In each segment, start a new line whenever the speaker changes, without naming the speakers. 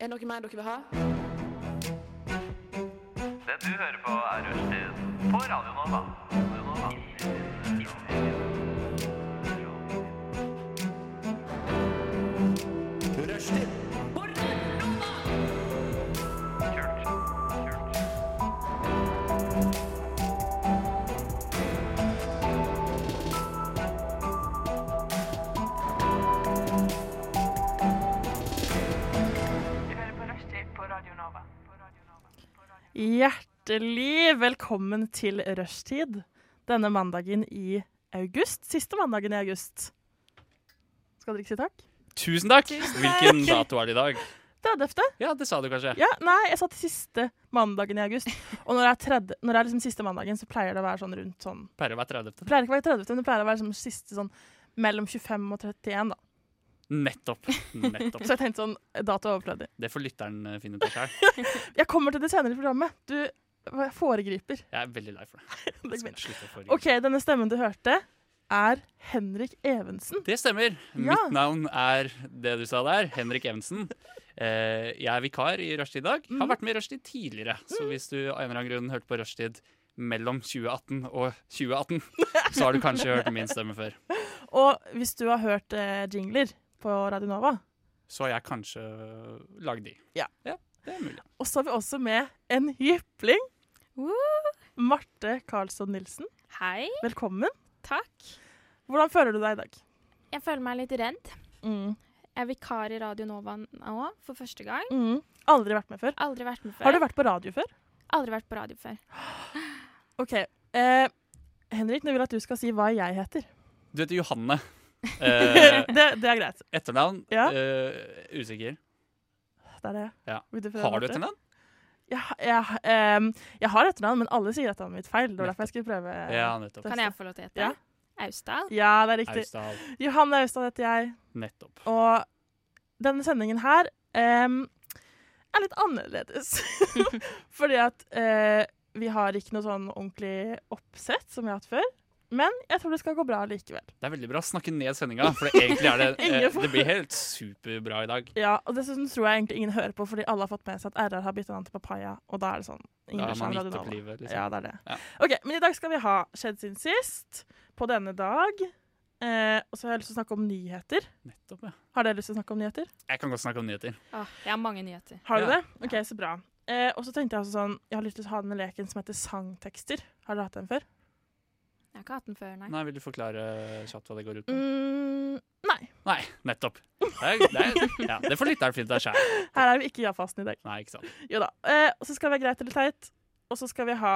Er det noe mer dere vil ha?
Det du hører på er Rushtid på Radio Nova. Radio Nova.
Rushtid.
Kjørt. Kjørt.
Du hører på Rushtid på Radio Nova. På Radio Nova. På Radio Nova.
Hjertelig velkommen til rushtid denne mandagen i august. Siste mandagen i august. Skal dere ikke si takk?
Tusen takk!
Tusen
Hvilken
takk.
dato er det i dag?
Det er døfte.
Ja, det sa du kanskje.
Ja, nei, jeg sa til siste mandagen i august. Og når det er, tredje, når det er liksom siste mandagen, så pleier det å være sånn rundt sånn
Pleier å være 30.
Det pleier ikke å være 30, men det pleier å være som siste sånn mellom 25 og 31, da.
Nettopp. Nettopp.
Så jeg tenkte sånn dato er overflødig.
Det får lytteren eh, finne ut av sjøl.
Jeg kommer til det senere i programmet. Du foregriper.
Jeg er veldig lei for det.
Det er
Skal
ikke
jeg slutte å foregripe.
OK, denne stemmen du hørte, er Henrik Evensen.
Det stemmer.
Ja.
Mitt navn er det du sa der, Henrik Evensen. Eh, Jeg er vikar i rushtid i dag.
Mhm.
Har vært med i rushtid tidligere. Så hvis du av en eller annen grunn hørte på rushtid mellom 2018 og 2018, så har du kanskje hørt min stemme før.
Og hvis du har hørt eh, jingler på Radio Nova,
Så har jeg kanskje lagd de.
Ja.
Det er mulig.
og så har vi også med en jypling.
Woo!
Marte Karlsson Nilsen,
Hei.
velkommen.
Takk.
Hvordan føler du deg i dag?
Jeg føler meg litt redd. Jeg er vikar i Radio Nova nå for første gang.
Mm. Aldri vært med før.
Aldri vært med før.
Har du vært på radio før?
Aldri vært på radio før.
OK. Eh, Henrik, nå vil jeg at du skal si hva jeg heter.
Du heter Johanne. Eh,
det, det er greit.
Etternavn?
Ja.
eh, usikker.
Det er det.
Ja.
Vil prøve,
Har du
Marte?
etternavn?
Jeg, jeg, ehm, jeg har etternavn, men alle sier etternavnet mitt feil. Det var derfor jeg skulle prøve.
Ja, nettopp.
Kan jeg få lov til å hete?
Ja.
Austdal.
Ja, det er riktig.
Austdal.
Johanne Austad heter jeg.
Nettopp.
Og denne sendingen her em, er litt annerledes. Fordi at eh, vi har ikke noe sånn ordentlig oppsett som vi har hatt før. Men jeg tror det skal gå bra likevel.
Det er veldig bra å snakke ned sendinga, for det egentlig er det eh,
Ingen får-
Det blir helt superbra i dag.
Ja, og Dessuten tror jeg egentlig ingen hører på, fordi alle har fått med seg at RR har bytta navn til Papaya. Og da er det sånn. Ingen bryr
Da har
seg om
man
Radio
gitt opp
Nova.
livet, liksom.
Ja, det er det.
Ja.
Ok, Men i dag skal vi ha Skjedd siden sist, på denne dag. Eh, og så har jeg lyst til å snakke om nyheter.
Nettopp, ja.
Har dere lyst til å snakke om nyheter?
Jeg kan godt snakke om nyheter.
Åh, jeg har mange nyheter.
Har du
Ja.
det? Ok, så bra. Eh, og så tenkte jeg også sånn, jeg har lyst til å ha denne leken som heter sangtekster. Har dere hatt den før?
Jeg har ikke hatt den før, nei.
Nei, Vil du forklare eh, kjapt hva det går ut på?
Mm, nei.
Nei, nettopp. Det, er, det, er, ja, det får lytteren finne ut av sjæl.
Her er vi ikke i ja-fasten i dag.
Nei, ikke sant.
Jo da. Eh, og så skal vi ha greit eller teit, og så skal vi ha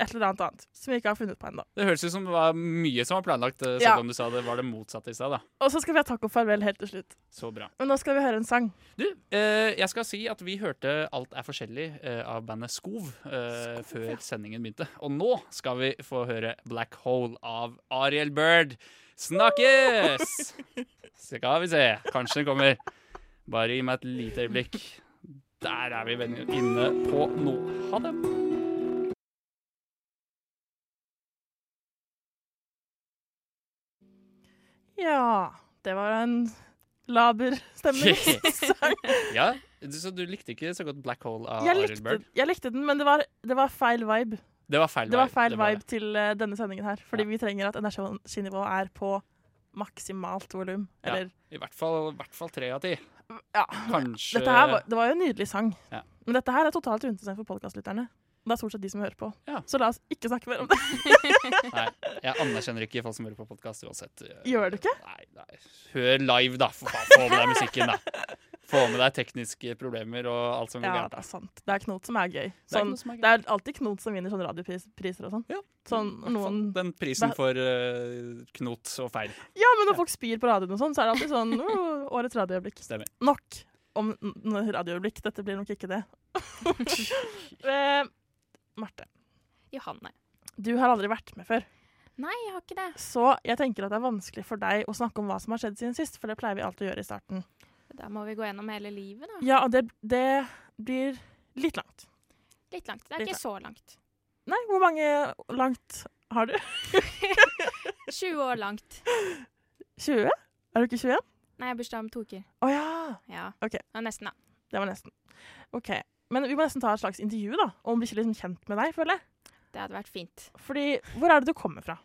et eller annet annet som vi ikke har funnet på enda.
Det høres ut som det var mye som var planlagt, eh, selv
Ja.
om du sa det var det motsatte i stad. da.
Og så skal vi ha takk og farvel helt til slutt.
Så bra.
Men nå skal vi høre en sang.
Du, eh, jeg skal si at vi hørte Alt er forskjellig eh, av bandet Skov eh, før sendingen begynte. Og nå skal vi få høre Black Hole av Ariel Bird. Snakkes! Skal vi se. Kanskje den kommer. Bare gi meg et lite øyeblikk. Der er vi venner inne på noe. Ha det.
Ja, det var en laber stemningssang.
Ja, du, Så du likte ikke så godt Black Hole av
Jeg,
Ariel
likte-
Bird?
jeg likte den, men det var, det var feil vibe.
Det var feil
Det var
vibe.
feil
Det
vibe
det.
til eh, denne sendingen her. Fordi
Ja.
vi trenger at energinivået er på maksimalt volum.
Ja.
Eller
I hvert fall, i hvert fall tre av ti.
Ja.
Kanskje
Dette her var, det var jo en nydelig sang.
Ja.
Men dette her er totalt uinteressant for podkastlytterne. Det er stort sett de som hører på.
Ja.
Så la oss ikke snakke mer om det.
Nei, jeg anerkjenner ikke folk som hører på podkast uansett.
Gjør du ikke?
Nei, nei. Hør live, da. For faen, få med deg musikken, da. Få med deg tekniske problemer og alt som går
Ja, det
gærent. da.
er sant. Det er Knot som er gøy.
Det er ikke
Sånn,
noe som er gøy.
det er alltid Knot som vinner sånne radiopriser og sånn.
Ja.
Sånn
I hvert fall
noen
Den prisen for eh, knot og feil.
Ja, men når folk spyr på radioen og sånn, så er det alltid sånn «Åh, Årets radioøyeblikk.
Stemmer.
Nok om n- n- radioøyeblikk. Dette blir nok ikke det. Eh, Marte,
Johanne.
du har aldri vært med før.
Nei, jeg har ikke det.
Så jeg tenker at det er vanskelig for deg å snakke om hva som har skjedd siden sist, for det pleier vi alltid å gjøre i starten.
Da må vi gå gjennom hele livet, da.
Ja, og det, det blir litt langt.
Litt langt. Det er
Litt
ikke så langt.
Nei, hvor mange langt har du?
20 år langt.
20? Er du ikke 21?
Nei, jeg har bursdag om to uker.
Å ja!
Ja.
Ok.
Ja, nesten, da.
Det var nesten. Ok, Men vi må nesten ta et slags intervju da, om å bli liksom kjent med deg. føler jeg.
Det hadde vært fint.
Fordi, Hvor er det du kommer fra?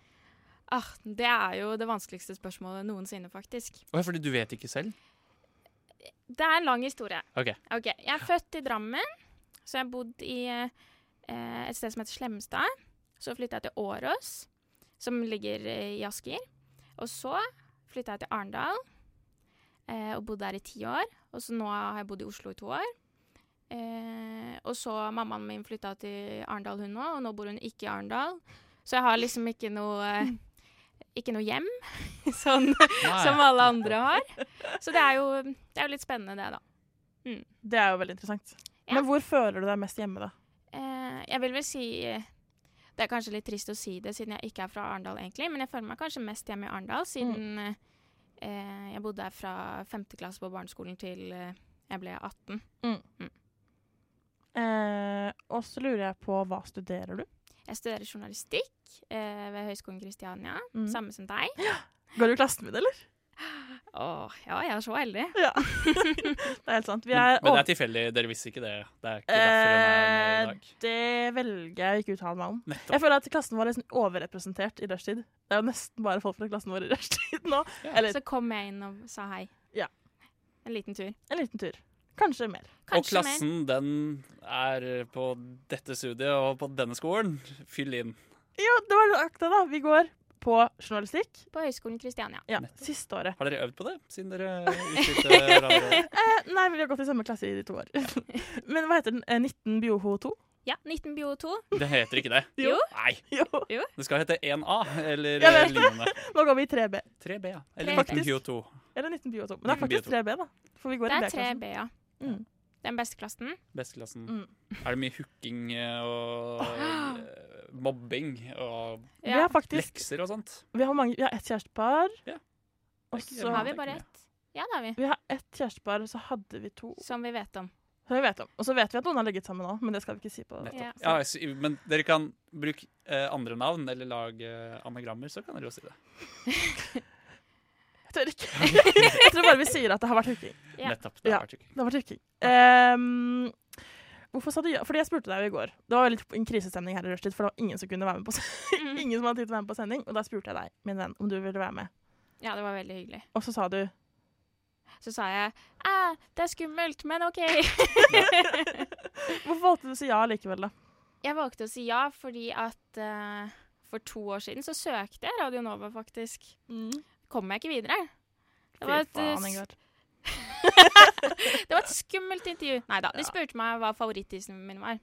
Ah, det er jo det vanskeligste spørsmålet noensinne, faktisk.
Å, ja, fordi du vet ikke selv?
Det er en lang historie.
Ok.
Ok, Jeg er født i Drammen, så jeg har bodd i eh, et sted som heter Slemstad. Så flytta jeg til Åros, som ligger eh, i Asker. Og så flytta jeg til Arendal eh, og bodde der i ti år. Og så nå har jeg bodd i Oslo i to år. Eh, og så mammaen min flytta til Arendal, hun òg, og nå bor hun ikke i Arendal. Så jeg har liksom ikke noe eh, Ikke noe hjem, sånn
Nei.
som alle andre har. Så det er jo, det er jo litt spennende, det, da.
Det er jo veldig interessant.
Ja.
Men hvor føler du deg mest hjemme, da?
Eh, jeg vil vel si Det er kanskje litt trist å si det siden jeg ikke er fra Arendal, egentlig, men jeg føler meg kanskje mest hjemme i Arendal siden eh, jeg bodde her fra femte klasse på barneskolen til eh, jeg ble 18.
Eh, og så lurer jeg på hva studerer du?
Jeg studerer journalistikk eh, ved Høgskolen Kristiania,
Mm.
samme som deg.
Går du i klassen min, eller?
Åh, ja, jeg er så heldig.
Det er helt sant. Vi
Men,
er
men det er tilfeldig. Dere visste ikke det. Det er ikke derfor hun er med i dag.
Eh, det velger jeg å ikke uttale meg om.
Nettopp.
Jeg føler at klassen vår er liksom overrepresentert i rushtid. Det er jo nesten bare folk fra klassen vår i rushtid nå.
Ja.
Eller
Så kom jeg inn og sa hei.
Ja.
En liten tur.
en liten tur. Kanskje mer.
Og
Kanskje mer.
klassen, den er på dette studiet og på denne skolen. Fyll inn.
Ja, det var akkurat det, da. Vi går på journalistikk.
På Høgskolen Kristiania.
Ja, Siste året.
Har dere øvd på det siden dere utskilte hverandre?
Eh, nei, vi har gått i samme klasse i de to år. Men hva heter den? Eh, 19 BioHo 2?
Ja, 19 bio 2.
Det heter ikke det.
Jo.
Nei,
Jo.
det skal hete 1A eller
Jeg vet det.
lignende.
Nå går vi i 3B.
3B, ja.
Tre
Eller
B.
19 Q2.
Eller 19 BioHo 2. Men det er
19
faktisk
BioHo2.
3B, da. For vi går i
Det er
B-klassen.
3B, ja.
Mm.
Den beste klassen.
Besteklassen.
Mm.
Er det mye hooking eh, og eh, mobbing og
Vi har faktisk
lekser og sånt?
vi har, mange, vi har ett kjærestepar.
Ja.
Og
Det er ikke
så
Har
jævlig.
vi bare ett? Ja, det har vi.
Vi har ett kjærestepar, og så hadde vi to.
Som vi vet om.
Som vi vet om. Og så vet vi at noen har ligget sammen òg, men det skal vi ikke si på
Nettopp.
Ja.
Ja, jeg sy- men dere kan bruke eh, andre navn eller lage eh, anagrammer, så kan dere jo si det.
Jeg tør ikke. jeg tror bare vi sier at det har vært hooking.
Ja.
Nettopp. Det
Ja.
har vært hooking.
Det har vært hooking. Ehm, hvorfor sa du ja? Fordi jeg spurte deg jo i går. Det var litt en krisestemning her i rushtid, for det var ingen som kunne være med på
Mm.
sending. ingen som hadde tid til å være med på sending. Og da spurte jeg deg, min venn, om du ville være med.
Ja, det var veldig hyggelig.
Og så sa du
Så sa jeg «Æ, det er skummelt, men OK.
Hvorfor valgte du å si ja likevel, da?
Jeg valgte å si ja fordi at eh, for to år siden så søkte jeg Radio Nova, faktisk. Kom jeg ikke videre. Det Mm. var, et, eh, s-
Ingvar.
det var et skummelt intervju. Nei da, de
Ja.
spurte meg hva favorittisen min var.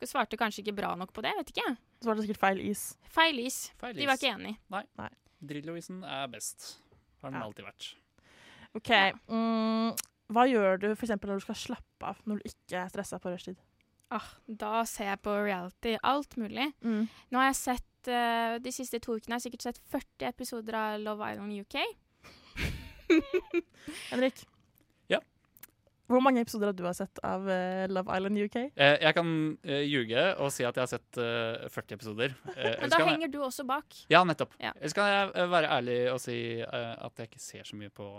Jeg svarte kanskje ikke bra nok på det, vet ikke jeg.
Så var det sikkert feil is.
Feil is.
Feil
De var
is.
ikke enig.
Drillovisen er best. Har den
Ja.
alltid vært.
OK. Mm, hva gjør du for eksempel når du skal slappe av, når du ikke er stressa på rushtid?
Ah, da ser jeg på reality. Alt mulig.
Mm.
Nå har jeg sett eh, De siste to ukene har jeg sikkert sett 40 episoder av Love Island UK.
Henrik?
Ja?
Hvor mange episoder har du har sett av eh, Love Island UK?
Eh, jeg kan eh, ljuge og si at jeg har sett eh, 40 episoder. Eh,
Men
ellers
da
kan jeg-
henger du også bak.
Ja, nettopp.
Ja.
Ellers kan jeg eh, være ærlig og si eh, at jeg ikke ser så mye på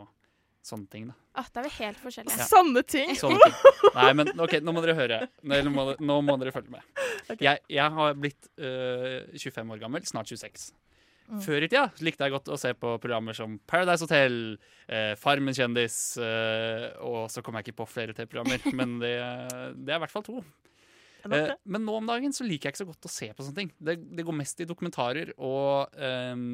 sånne ting. Da.
Ah, da er vi helt forskjellige.
Sanne ting!
Sånne ting. Nei, men OK, nå må dere høre. Nå, nå, må, dere- nå må dere følge med.
Ok.
Jeg, jeg har blitt eh, 25 år gammel, snart 26.
Mm.
Før i tida likte jeg godt å se på programmer som Paradise Hotel, eh, Farmen kjendis, eh, og så kom jeg ikke på flere TV-programmer, men det, det er i hvert fall to.
Er det nok
Eh,
det?
men nå om dagen så liker jeg ikke så godt å se på sånne ting. Det, det går mest i dokumentarer og ehm,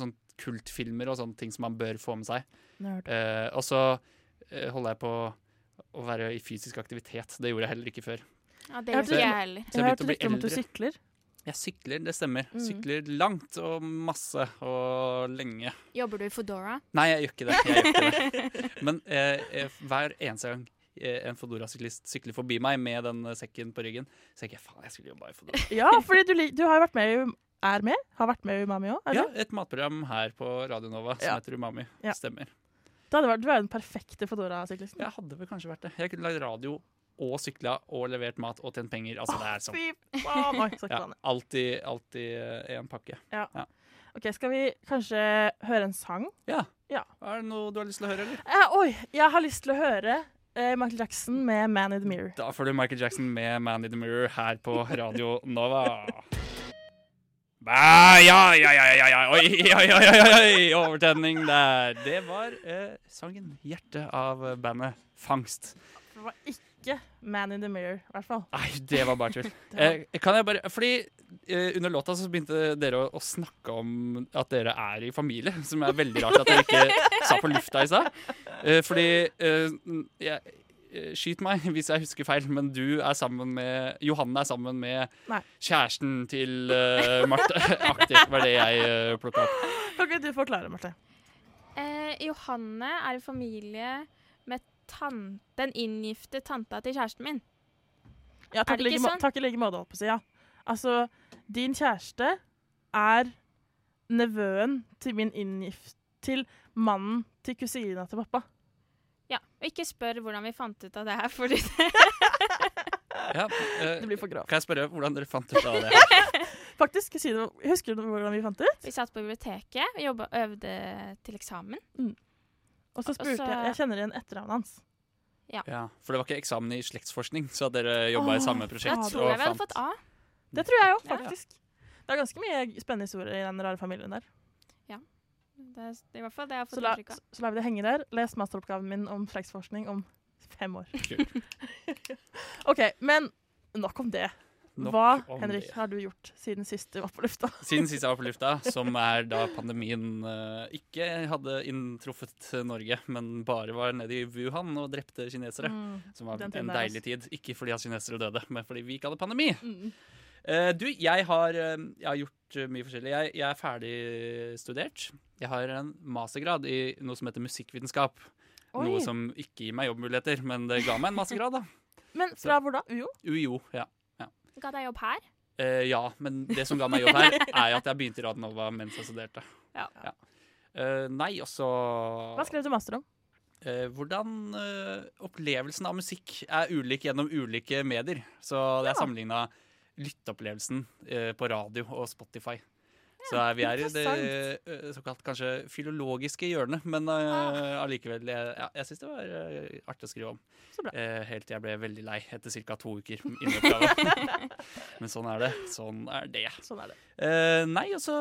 sånn kultfilmer og sånne ting som man bør få med seg.
Nerd.
Eh, og så eh, holder jeg på å være i fysisk aktivitet. Det gjorde jeg heller ikke før.
Ja, det
Ja,
gjør
du-
ikke jeg heller.
Så
Jeg
jeg
har
begynte
hørt
å bli
rykter om at du
eldre.
sykler.
Jeg sykler, det stemmer.
Mm.
Sykler langt og masse og lenge.
Jobber du i Foodora?
Nei, jeg gjør ikke det. Jeg gjør ikke det. Men eh, eh, hver eneste gang eh, en Fodora-syklist sykler forbi meg med den eh, sekken på ryggen, så tenker jeg faen, jeg skulle jobba i Fodora.
Ja, fordi du, lik- du har jo vært med i Er med? Har vært med i Umami òg?
Ja, et matprogram her på Radio Nova som
Ja.
heter Umami.
Ja.
Stemmer.
Du er jo den perfekte Fodora-syklisten.
Jeg hadde vel kanskje vært det. Jeg kunne lagd radio og sykla og levert mat og tjent penger. Altså, det er sånn.
Fy faen! Oi, så
Ja,
ikke vanlig.
alltid, alltid eh, en pakke.
Ok, Skal vi kanskje høre en sang?
Ja.
Ja.
Er det noe du har lyst til å høre, eller?
Eh, oi, jeg har lyst til å høre eh, Michael Jackson med 'Man in the Mirror'.
Da får du Michael Jackson med Man in the Mirror her på Radio Nova. Bæ, ja, ja, ja, ja, ja, oi, oi, oi, oi, oi, overtenning der. Det var eh, sangen 'Hjerte' av bandet Fangst.
Det var ikke 'Man in the Mirror', i hvert fall.
Nei, det var bare tull. Eh, kan jeg bare, fordi eh, under låta så begynte dere å, å snakke om at dere er i familie, som er veldig rart at dere ikke sa på lufta i stad. Eh, fordi eh, n- jeg, eh, Skyt meg hvis jeg husker feil, men du er sammen med Johanne er sammen med
Nei.
kjæresten til eh, Marte. Aktig var det jeg uh, plukka opp.
Kan ikke du forklare, Marte?
Eh, Johanne er i familie med tan den inngifte tanta til kjæresten min.
Ja, takk
det
i like
ikke
må-
sånn?
Takk i like måte, holdt på å si. Ja. Altså, din kjæreste er nevøen til min inngift Til mannen til kusina til pappa.
Ja, Og ikke spør hvordan vi fant ut av det her, fordi det
Ja, eh,
Det blir for grovt.
kan jeg spørre hvordan dere fant ut av det?
Faktisk, kusina, Husker du hvordan vi fant det ut?
vi satt på biblioteket og jobbet, øvde til eksamen.
Og så spurte
så-
jeg Jeg kjenner igjen etternavnet hans.
Ja, for det var ikke eksamen i slektsforskning, så at dere jobba i
Åh,
samme
Da
prosjekt.
Shit,
tror
og
jeg vi hadde
fant-
fått A.
Mm.
Det tror jeg jo,
Ja.
faktisk. Det er ganske mye spennende historier i den rare familien der.
Det er det er i hvert fall det jeg har
Så
fått
la,
inntrykk av.
så lar vi det henge der. Les masteroppgaven min om slektsforskning om fem år. OK, men nok om det.
Nok
Hva,
om
Henrik,
det.
har du gjort siden sist du var på lufta?
Siden sist jeg var på lufta, som er da pandemien eh, ikke hadde inntruffet Norge, men bare var nede i Wuhan og drepte kinesere. Som var
Mm. den tiden
en
der,
deilig tid. Ikke fordi at kinesere døde, men fordi vi ikke hadde pandemi.
Mm.
Eh, du, jeg har, eh, jeg har gjort eh, mye forskjellig. Jeg, jeg er ferdig studert. Jeg har en mastergrad i noe som heter musikkvitenskap.
Oi.
Noe som ikke gir meg jobbmuligheter, men det ga meg en mastergrad, da.
Men fra hvor da? UiO?
UiO, ja.
Ga deg jobb her?
Eh, ja, men det som ga meg jobb her, er jo at jeg begynte i Radionova mens jeg studerte.
Ja.
Eh, nei, og så Ah.
Hva skrev du master om?
eh, Hvordan eh, opplevelsen av musikk er ulik gjennom ulike medier. Så det er sammenligna lytteopplevelsen eh, på radio og Spotify. Så er vi er i det
interessant.
eh, såkalt kanskje filologiske hjørnet, men eh, allikevel Jeg, ja, jeg syns det var eh, artig å skrive om.
Ah. Så bra.
Eh, helt til jeg ble veldig lei etter ca. to uker inn i oppgaven. men sånn er det. Sånn er det.
Sånn er det.
Eh, nei, altså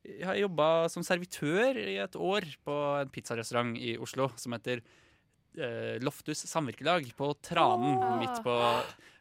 Jeg har jobba som servitør i et år på en pizzarestaurant i Oslo som heter eh, Loftus Samvirkelag på Tranen,
Åh.
midt på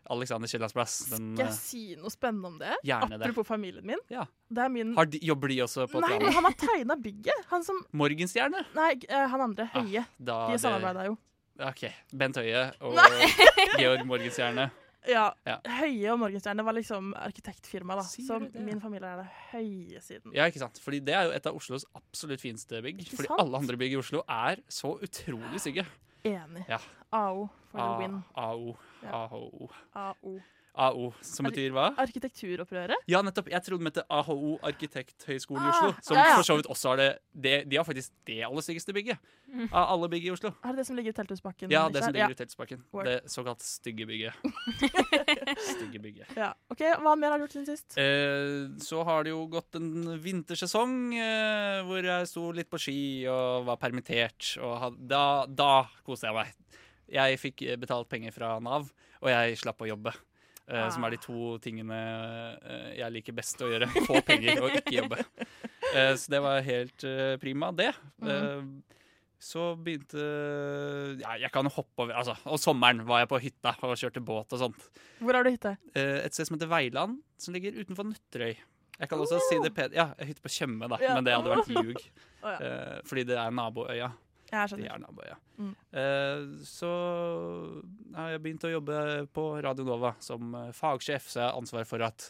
Alexander Kiellands plass. Den, eh,
Skal jeg si noe spennende om det?
Gjerne det.
Apropos familien min.
Ja.
Det er min
eh, har de, jobber de også på
Nei, men
Tranen?
han har tegna bygget. Han som
Morgenstjerne?
Nei, eh, han andre. Høie.
Da
De
Ah, det-
samarbeida jo.
OK. Bent Høie og Georg Morgenstjerne.
Ja.
Ja.
Høie og Morgenstjerne var liksom arkitektfirma, da.
Sier
Så
du det?
min familie er det høye siden.
Ja, ikke sant? Fordi det er jo et av Oslos absolutt fineste bygg.
Ikke
Fordi
sant?
alle andre bygg i Oslo er så utrolig stygge.
Enig.
Ja.
AO for the win.
AO.
Ja.
AHO.
AO.
AO, som
Er det-
betyr hva?
Arkitekturopprøret?
Ja, nettopp. Jeg trodde den het AHO Arkitekthøgskolen i Oslo.
Ah,
Som
ja, ja.
for så vidt også har det, det De har faktisk det aller styggeste bygget
Mm.
av alle bygg i Oslo.
Er det det som ligger i Telthusbakken?
Ja, det
ikke
som
sant?
ligger i Teltsbakken.
Word.
Det såkalt stygge bygget. stygge bygget.
ja. ja. OK, hva mer har du gjort siden sist?
Eh, så har det jo gått en vintersesong eh, hvor jeg sto litt på ski og var permittert. Og had, da, da koste jeg meg. Jeg fikk eh, betalt penger fra Nav, og jeg slapp å jobbe. eh, Som er de to tingene eh, jeg liker best å gjøre. Få penger og ikke jobbe. Eh, så det var helt eh, prima, det. Eh, så begynte Ja, jeg kan hoppe over altså, Og sommeren var jeg på hytta og kjørte båt og sånt
Hvor har du hytte?
eh, et sted som heter Veiland, som ligger utenfor Nøtterøy. Jeg kan også si det pent Ja, jeg hytter på Tjøme, da,
Oh. Ja.
men det hadde vært ljug.
Å, ja.
eh, fordi det er naboøya.
Jeg
Det
skjønner.
er naboøya.
Mm.
Eh, så har jeg begynt å jobbe på Radio Nova som eh, fagsjef, så jeg har ansvar for at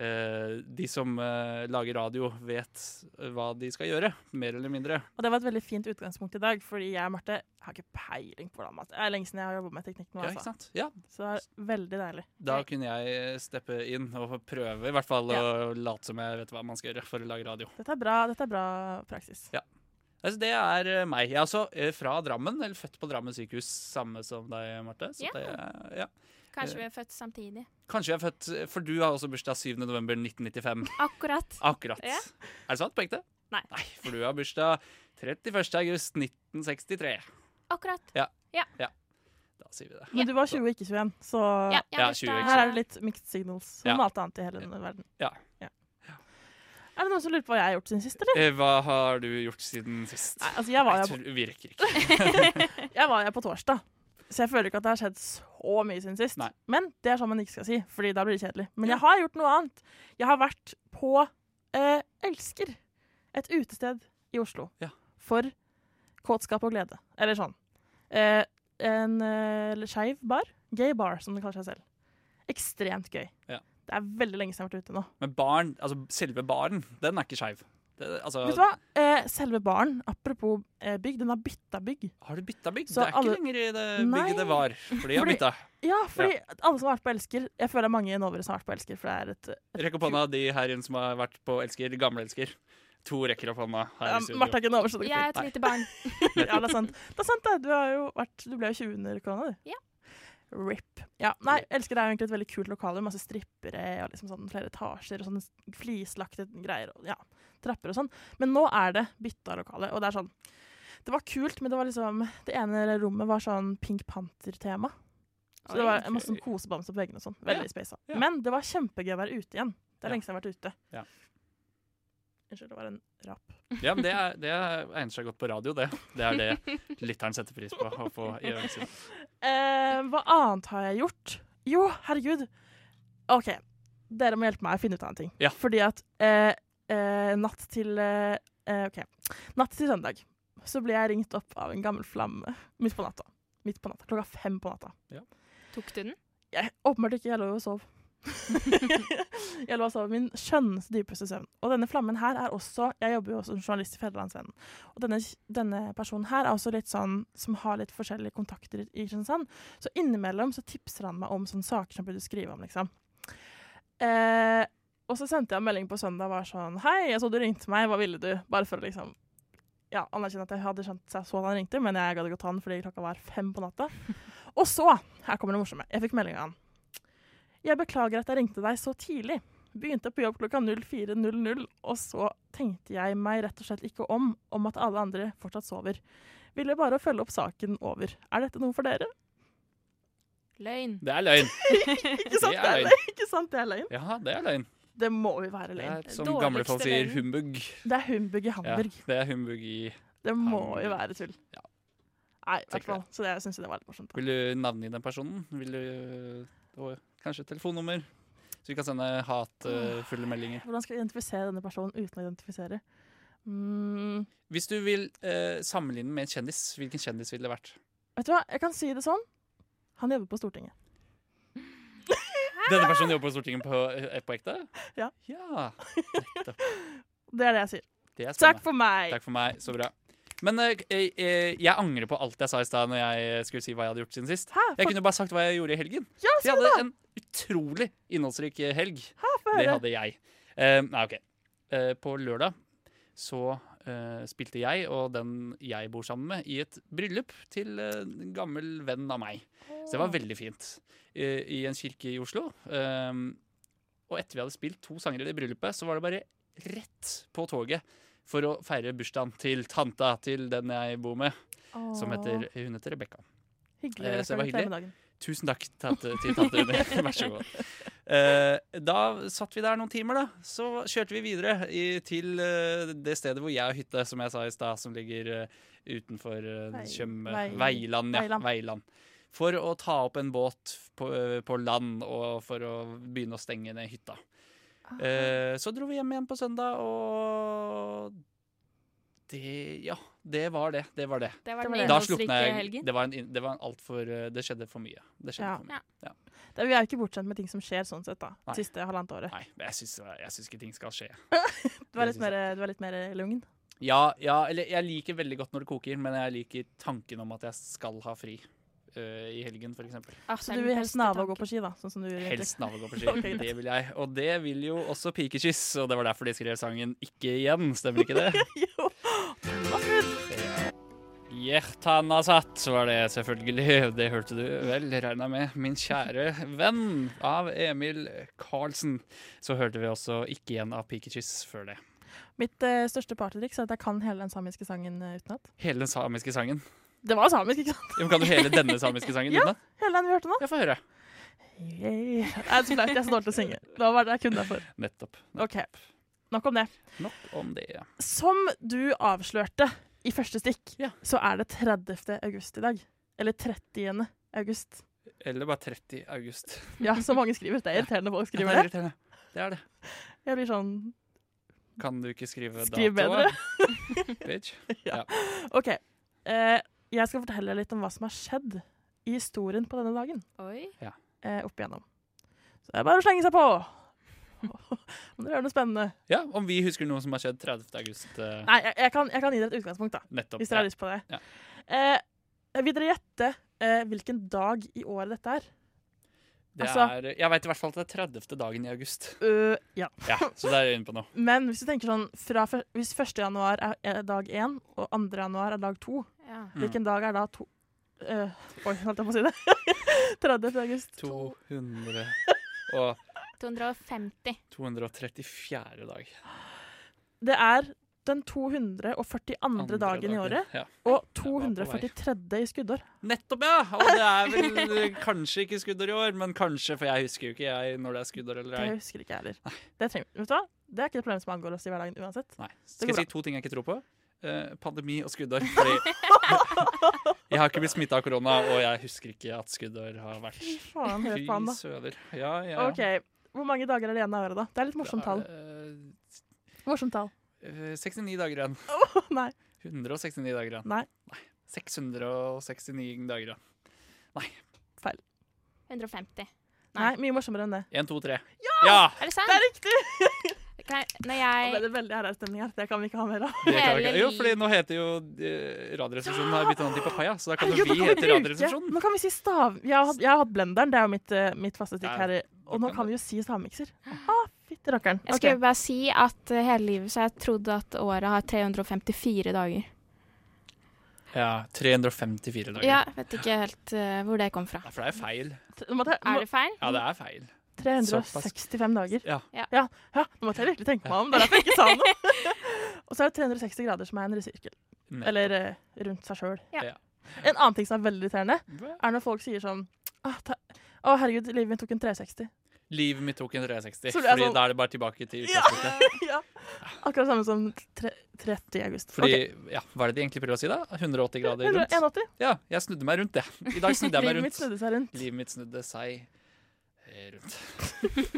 eh, de som eh, lager radio, vet eh, hva de skal gjøre, mer eller mindre.
Og det var et veldig fint utgangspunkt i dag, fordi jeg og Marte har ikke peiling på hvordan mat Det er lenge siden jeg har jobba med teknikk nå,
Ja, ikke
altså.
sant? Ja,
Så det er veldig deilig.
Da kunne jeg steppe inn og prøve i hvert fall å late som jeg vet hva man skal gjøre for å lage radio.
Dette er bra, dette er bra praksis.
Ja. Altså, det er eh, meg. Jeg er altså eh, fra Drammen, eller født på Drammen sykehus, samme som deg, Marte. Så
Ja.
det er- ja. Eh.
Kanskje vi er født samtidig.
Kanskje jeg er født eh, For du har også bursdag 7. november 1995.
Akkurat.
Akkurat.
Ja.
Er det sant på ekte?
Nei.
For du har bursdag 31. august 1963.
Akkurat.
Ja.
Ja.
Da sier vi det.
Men du var 20 og ikke 21, så
Ja, jeg
Ja,
vet
20
det.
her er det litt mixed signals. Som
Ja.
alt annet i hele denne verden.
Ja.
Er det noen som lurer på hva jeg har gjort siden sist, eller?
Eh, Hva har du gjort siden sist?
Nei, altså, jeg var jo
Jeg
på,
tror vi rekker ikke.
jeg var jo på torsdag, så jeg føler ikke at det har skjedd så mye siden sist.
Nei.
Men det er sånn man ikke skal si, Fordi da blir det kjedelig. Men jeg har gjort noe annet. Jeg har vært på eh, Elsker, et utested i Oslo,
Ja.
for kåtskap og glede. Eller sånn. Eh, en eh, skeiv bar. Gay bar, som det kaller seg selv. Ekstremt gøy.
Ja.
Det er veldig lenge siden jeg har vært ute nå.
Men barn, altså selve baren, den er ikke skeiv. Det- Altså,
Vet du hva? Eh, selve baren, apropos eh, bygg, den har bytta bygg.
har du bytta bygg?
Så
det er
alle-
ikke lenger i det
Nei.
bygget det var. For de har
Fordi-
bytta.
Ja, fordi alle som har vært på Elsker Jeg føler det er mange i Novere som har vært på Elsker, for det er et, et
Rekk opp hånda, de her inne som har vært på Elsker. de Gamle Elsker. To rekker opp hånda her
ja,
i studio.
Martha er ikke Novere, så det
Jeg
går
er
fint.
et lite barn.
Ja, det er sant. Det er sant, det. Du, har jo vært, du ble jo 20 under korona, du.
Ja.
RIP. Ja, nei, Elsker er jo egentlig et veldig kult lokale. Masse strippere og liksom sånn flere etasjer og sånne flislagte greier. Og, ja, trapper og sånn. Men nå er det bytta lokale, og det er sånn Det var kult, men det var liksom Det ene rommet var sånn Pink Panther-tema. Så det
Oi.
var masse sånn kosebamse på veggene og sånn. Veldig
Ja.
spesa.
Ja.
Men det var kjempegøy å være ute igjen. Det er
Ja.
lenge siden jeg har vært ute.
Ja.
Unnskyld, det var en rap.
Ja, men det, er, det er- egner seg godt på radio, det. Det er det lytteren setter pris på å få i ørene sine.
Eh, hva annet har jeg gjort? Jo, herregud. OK, dere må hjelpe meg å finne ut av en ting.
Ja.
Fordi at eh, eh, natt til eh, eh, OK. Natt til søndag så ble jeg ringt opp av en gammel flamme midt på natta. Midt på natta. Klokka fem på natta.
Tok du den?
Jeg, åpenbart ikke. Jeg lå jo og sov. jeg lå og sov min skjønneste, dypeste søvn. Og denne flammen her er også Jeg jobber jo også som journalist i Fedrelandsvennen. Og denne, denne personen her er også litt sånn som har litt forskjellige kontakter i i Kristiansand. Så innimellom så tipser han meg om sånne saker som jeg burde skrive om, liksom. Eh, og så sendte jeg en melding på søndag og var sånn Hei, jeg så du ringte meg, hva ville du? Bare for å liksom ja, anerkjenne at jeg hadde skjønt seg sånn han ringte, men jeg gadd ikke å ta den fordi klokka var fem på natta. Og så, her kommer det morsomme, jeg fikk melding av han. Jeg beklager at jeg ringte deg så tidlig. Begynte på jobb klokka 04.00, og så tenkte jeg meg rett og slett ikke om om at alle andre fortsatt sover. Ville bare å følge opp saken over. Er dette noe for dere?
Løgn.
Det er løgn.
Ikke sant
Det
det
er
er
løgn.
løgn? Ikke sant det er løgn?
Ja, det er løgn.
Det må jo være
Det
løgn.
er, som
Dårligste
gamle folk sier,
løgn.
humbug.
Det er humbug i
Ja,
Hamburg.
det er humbug i
Det må
Hamburg.
jo være tull.
Ja.
Nei, i hvert
Tenker
fall. Så det syns jeg det var litt morsomt. da.
Vil du navngi den personen? Vil du og kanskje telefonnummer? Så vi kan sende hatefulle meldinger.
Hvordan skal jeg identifisere denne personen uten å identifisere? Mm,
Hvis du vil eh, sammenligne med en kjendis, hvilken kjendis ville det vært?
vet du hva, jeg kan si det sånn. Han jobber på Stortinget.
Denne personen jobber på Stortinget på, eh, på ekte?
Ja.
ja.
Det er det jeg sier.
Det er
Takk
spennende.
for meg!
Takk for meg. Så bra. Men eh, eh, eh, jeg angrer på alt jeg sa i stad når jeg skulle si hva jeg hadde gjort siden sist.
Hæ?
Jeg kunne bare sagt hva jeg gjorde i helgen.
Ja,
Jeg hadde en utrolig innholdsrik eh, helg.
få
Det
høre.
hadde jeg. Eh, nei, OK. Eh, på lørdag så eh, spilte jeg og den jeg bor sammen med, i et bryllup til eh, en gammel venn av meg. Så det var veldig fint. I, i en kirke i Oslo. Ehm, og etter vi hadde spilt to sanger i det bryllupet, så var det bare rett på toget for å feire bursdagen til tanta til den jeg bor med, som heter, hun heter Rebekka.
Hyggelig.
Eh,
dere
så det
skal
var
gratulerer
hyggelig.
med dagen.
Tusen takk tante, til tante Rune. Vær så god. Eh, da satt vi der noen timer, da. Så kjørte vi videre i, til eh, det stedet hvor jeg har hytte, som jeg sa i stad, som ligger eh, utenfor eh,
Vei-
Tjøme
Vei-
Veiland, ja.
Veiland.
Veiland. For å ta opp en båt på, eh, på land, og for å begynne å stenge ned hytta. Eh, så dro vi hjem igjen på søndag, og det Ja, det var det. Det var det.
Det var
Det var det.
den
Da slukna
innholdsrike
jeg.
helgen.
Det var, en, det var en altfor eh, Det skjedde for mye. Det skjedde
Ja.
for mye.
Det, vi er jo ikke bortskjemt med ting som skjer sånn sett, da.
Nei.
Siste halvannet året.
Nei, men jeg syns, jeg syns ikke ting skal skje.
Du er
det
litt
synes
mer, du er litt mer eh, lugn.
Ja, ja, eller jeg liker veldig godt når det koker, men jeg liker tanken om at jeg skal ha fri øh, i helgen, f.eks.
Så
Ah, det er
du
den
vil helst
beste
nave og gå
tanken.
på ski, da? Sånn som du gjør egentlig.
Helst navn går på
Ok,
ski.
greit.
Det vil jeg. Og det vil jo også pikekyss, og det var derfor de skrev sangen 'Ikke igjen', stemmer ikke det?
Jo. Absolutt.
Hjertanasat var det, selvfølgelig. Det hørte du vel, regna med. Min kjære venn av Emil Karlsen. Så hørte vi også 'Ikke igjen' av pikekyss før det.
Mitt eh, største partytriks er at jeg kan hele den samiske sangen eh, utenat.
Hele den samiske sangen.
Det var samisk, ikke sant?
Jo, men Kan du hele denne samiske sangen?
Ja.
utenat?
Hele den vi hørte nå.
Jeg får høre.
Yay. Det er så flaut. Jeg er så dårlig til å synge. Det var bare det jeg kunne derfor.
Nettopp.
OK. Nok om det.
Nok om det. ja.
Som du avslørte i første stikk,
Ja.
så er det 30. august i dag. Eller 30. august.
Eller bare 30. august.
Ja, så mange skriver. Det er irriterende folk
Ja,
skriver
det er
det.
irriterende. Det er det.
Jeg blir sånn
Kan du ikke skrive
Skriv
datoa? Bitch.
OK. Eh, jeg skal fortelle litt om hva som har skjedd i historien på denne dagen.
Oi.
eh, opp igjennom. Så det er bare å slenge seg på! Om dere gjør noe spennende.
Ja, om vi husker noe som har skjedd 30. august. eh,
Nei, jeg, jeg, kan, jeg kan gi dere et utgangspunkt, da,
Nettopp.
hvis dere har
Ja.
lyst på det.
Ja.
Eh, vil dere gjette eh, hvilken dag i året dette er?
Det
Altså-
er, jeg veit i hvert fall at det er 30. dagen i august.
Øh, ja.
Ja, Så der er jeg inne på noe.
Men hvis du tenker sånn fra, fyr- Hvis 1. januar er, er dag 1, og 2. januar er dag 2,
Ja.
Mm.
hvilken dag er da to eh, Oi, holdt jeg på å si det? 30. august.
200 og
250.
234. dag.
Det er den 242.
Andre
dagen i året
Ja.
og
det var på vei.
243. i skuddår.
Nettopp, ja! Og det er vel eh, kanskje ikke skuddår i år, men kanskje, for jeg husker jo ikke jeg når det er skuddår eller
Det
ei.
husker ikke jeg heller. Det, trenger, vet du hva? det er ikke et problem som angår oss i hverdagen uansett.
Nei. Skal jeg
går
si to ting jeg ikke tror på? Eh, pandemi og skuddår. Fordi jeg har ikke blitt smitta av korona, og jeg husker ikke at skuddår har vært
Fy faen, hør på han, da.
søder. Ja, ja. ja.
OK. Hvor mange dager er det igjen av året, da? Det er litt morsomt tall.
Eh,
Morsomt tall.
eh, 69 dager igjen.
Å, nei.
169 dager igjen.
Nei.
669 dager igjen.
150.
nei.
Nei.
Mye morsommere enn det.
1, 2, 3. Ja!
Er det sant?
Det er riktig!
Kan jeg, når
Nå ble
jeg
det veldig ærlig stemning her. Det kan vi ikke ha mer av.
Det klarer vi ikke.
Hele
Jo,
liv.
fordi nå heter jo eh, Radioresepsjonen har bytta navn til Papaya, så da kan jo
Herregud, nå
vi
kan
hete
vi bruke
Radioresepsjonen.
Nå kan vi si stav... Jeg har, hatt- jeg har hatt blenderen, det er jo mitt, eh, mitt faste stikk
Ja,
her. i- Og nå
kan
kan vi jo si stavmikser. Ah, Fytti rakkeren.
Jeg
Ok.
skulle bare si at eh, hele livet så har jeg trodd at året har 354 dager.
Ja, 354 dager.
Ja, vet ikke helt eh, hvor det kom fra.
Ja, for det er feil.
Nå måtte jeg-
Er det feil?
Ja, det er feil.
nå- 365 dager.
Ja.
Ja.
ja. ja, Nå måtte jeg virkelig tenke meg om. Det er derfor jeg ikke sa noe. Og så er det 360 grader som er en resirkel.
Nettopp.
Eller eh, rundt seg sjøl.
Ja.
Ja.
En annen ting som er veldig irriterende,
Hva?
er når folk sier sånn «Ah, ta- Å, herregud, livet mitt tok en 360.
Livet mitt tok en 360,
Så det er
fordi
sånn-
da er det bare tilbake til
Ja.
utgangspunktet.
ja. Akkurat samme som tre, 30. august.
Fordi,
Ok.
ja, Hva er det de egentlig prøver å si, da? 180 grader rundt?
181.
Ja, jeg snudde meg rundt, jeg. I dag snudde jeg meg
Livet mitt
rundt.
snudde seg rundt.
Livet mitt snudde seg eh, rundt.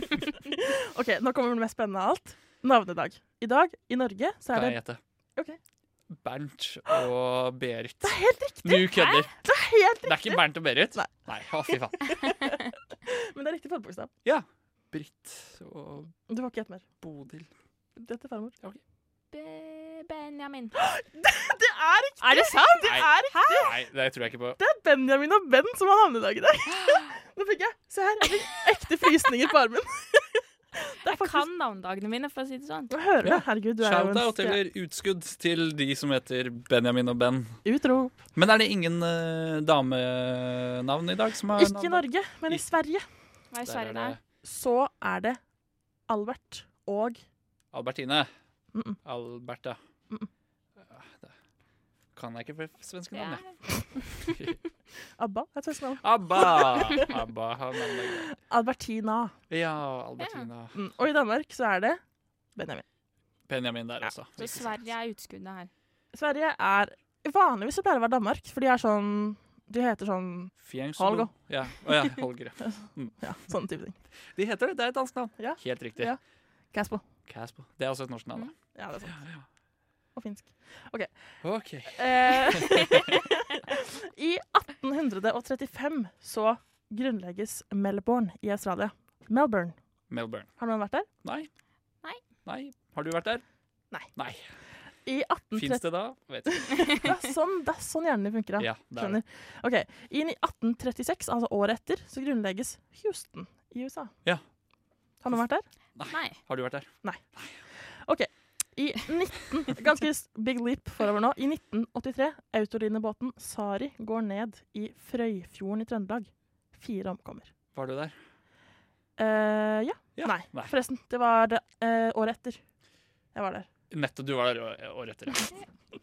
Ok, Nå kommer det mest spennende av alt. Navnedag. I dag i Norge så er
Kan
det
jeg gjette?
Ok.
Bernt og Berit.
Det er helt riktig!
Du kødder!
Helt,
Det er ikke Bernt og Berit.
Nei.
Nei, å, fy faen.
men det er riktig folkebokstav.
Britt og
Du får ikke gjette mer.
Bodil.
Dette er farmor.
Be- Benjamin.
Det er riktig!
Er det sant?
Det
Nei.
er riktig!
Nei, det tror jeg ikke på.
Det er Benjamin og Ben som har navnedag i dag. Nå fikk jeg Se her, jeg fikk Altså, ekte frysninger på armen. Det er
Jeg
faktisk
kan navnedagene mine, for å si det sånn.
Nå hører du.
Ja.
Herregud, du er jo en
Shout-out
stjerne.
eller utskudd til de som heter Benjamin og Ben.
Utrop.
Men er det ingen eh, damenavn i dag som har
Ikke i Norge, men
I-
i Sverige
Hva er
Der er
Sverige
det
der?
så er det Albert og mm,
Albertine.
Mm-mm.
Alberta.
Mm-mm.
Ja, det Kan jeg ikke for svenske
Ja.
navn, jeg.
ABBA. er et svensk navn.
Abba! Abba har navn.
Albertina.
Ja, Albertina.
Mm. Og i Danmark så er det Benjamin.
Benjamin der
Ja,
også.
Så Sverige er utskuddet her.
Sverige er Vanligvis så pleier det å være Danmark, for de er sånn De heter sånn
Fjengslo.
Holger.
Ja. Å ja, Holger. ja.
Ja, sånne type ting.
De heter det. Det er et dansk navn.
Ja. Mm.
Helt riktig.
Ja. Caspo.
Casper. Det er også et norsk navn. da.
Ja, det er sant.
Ja,
Og finsk. Eh,
ja. OK.
I 1835 så grunnlegges Melbourne i Australia. Melbourne.
Melbourne.
Har noen vært der?
Nei.
Nei.
Nei. Har du vært der?
Nei.
Nei.
I
Fins
1830
det da? Vet ikke.
Det er sånn, det er sånn hjernen din funker, da.
Ja, det er det.
Skjønner. Ok, I 1836, altså året etter, så grunnlegges Houston i USA.
Ja.
Har noen vært der?
Nei.
Har du vært der?
I 19, ganske s- big leap forover nå. I 1983, autolinebåten Sari går ned i Frøyfjorden i Trøndelag. Fire omkommer.
Var du der?
Eh, ja.
Ja.
Nei,
Nei.
forresten. Det var eh, året etter jeg var der.
Nettopp. Du var der å- året etter. ja.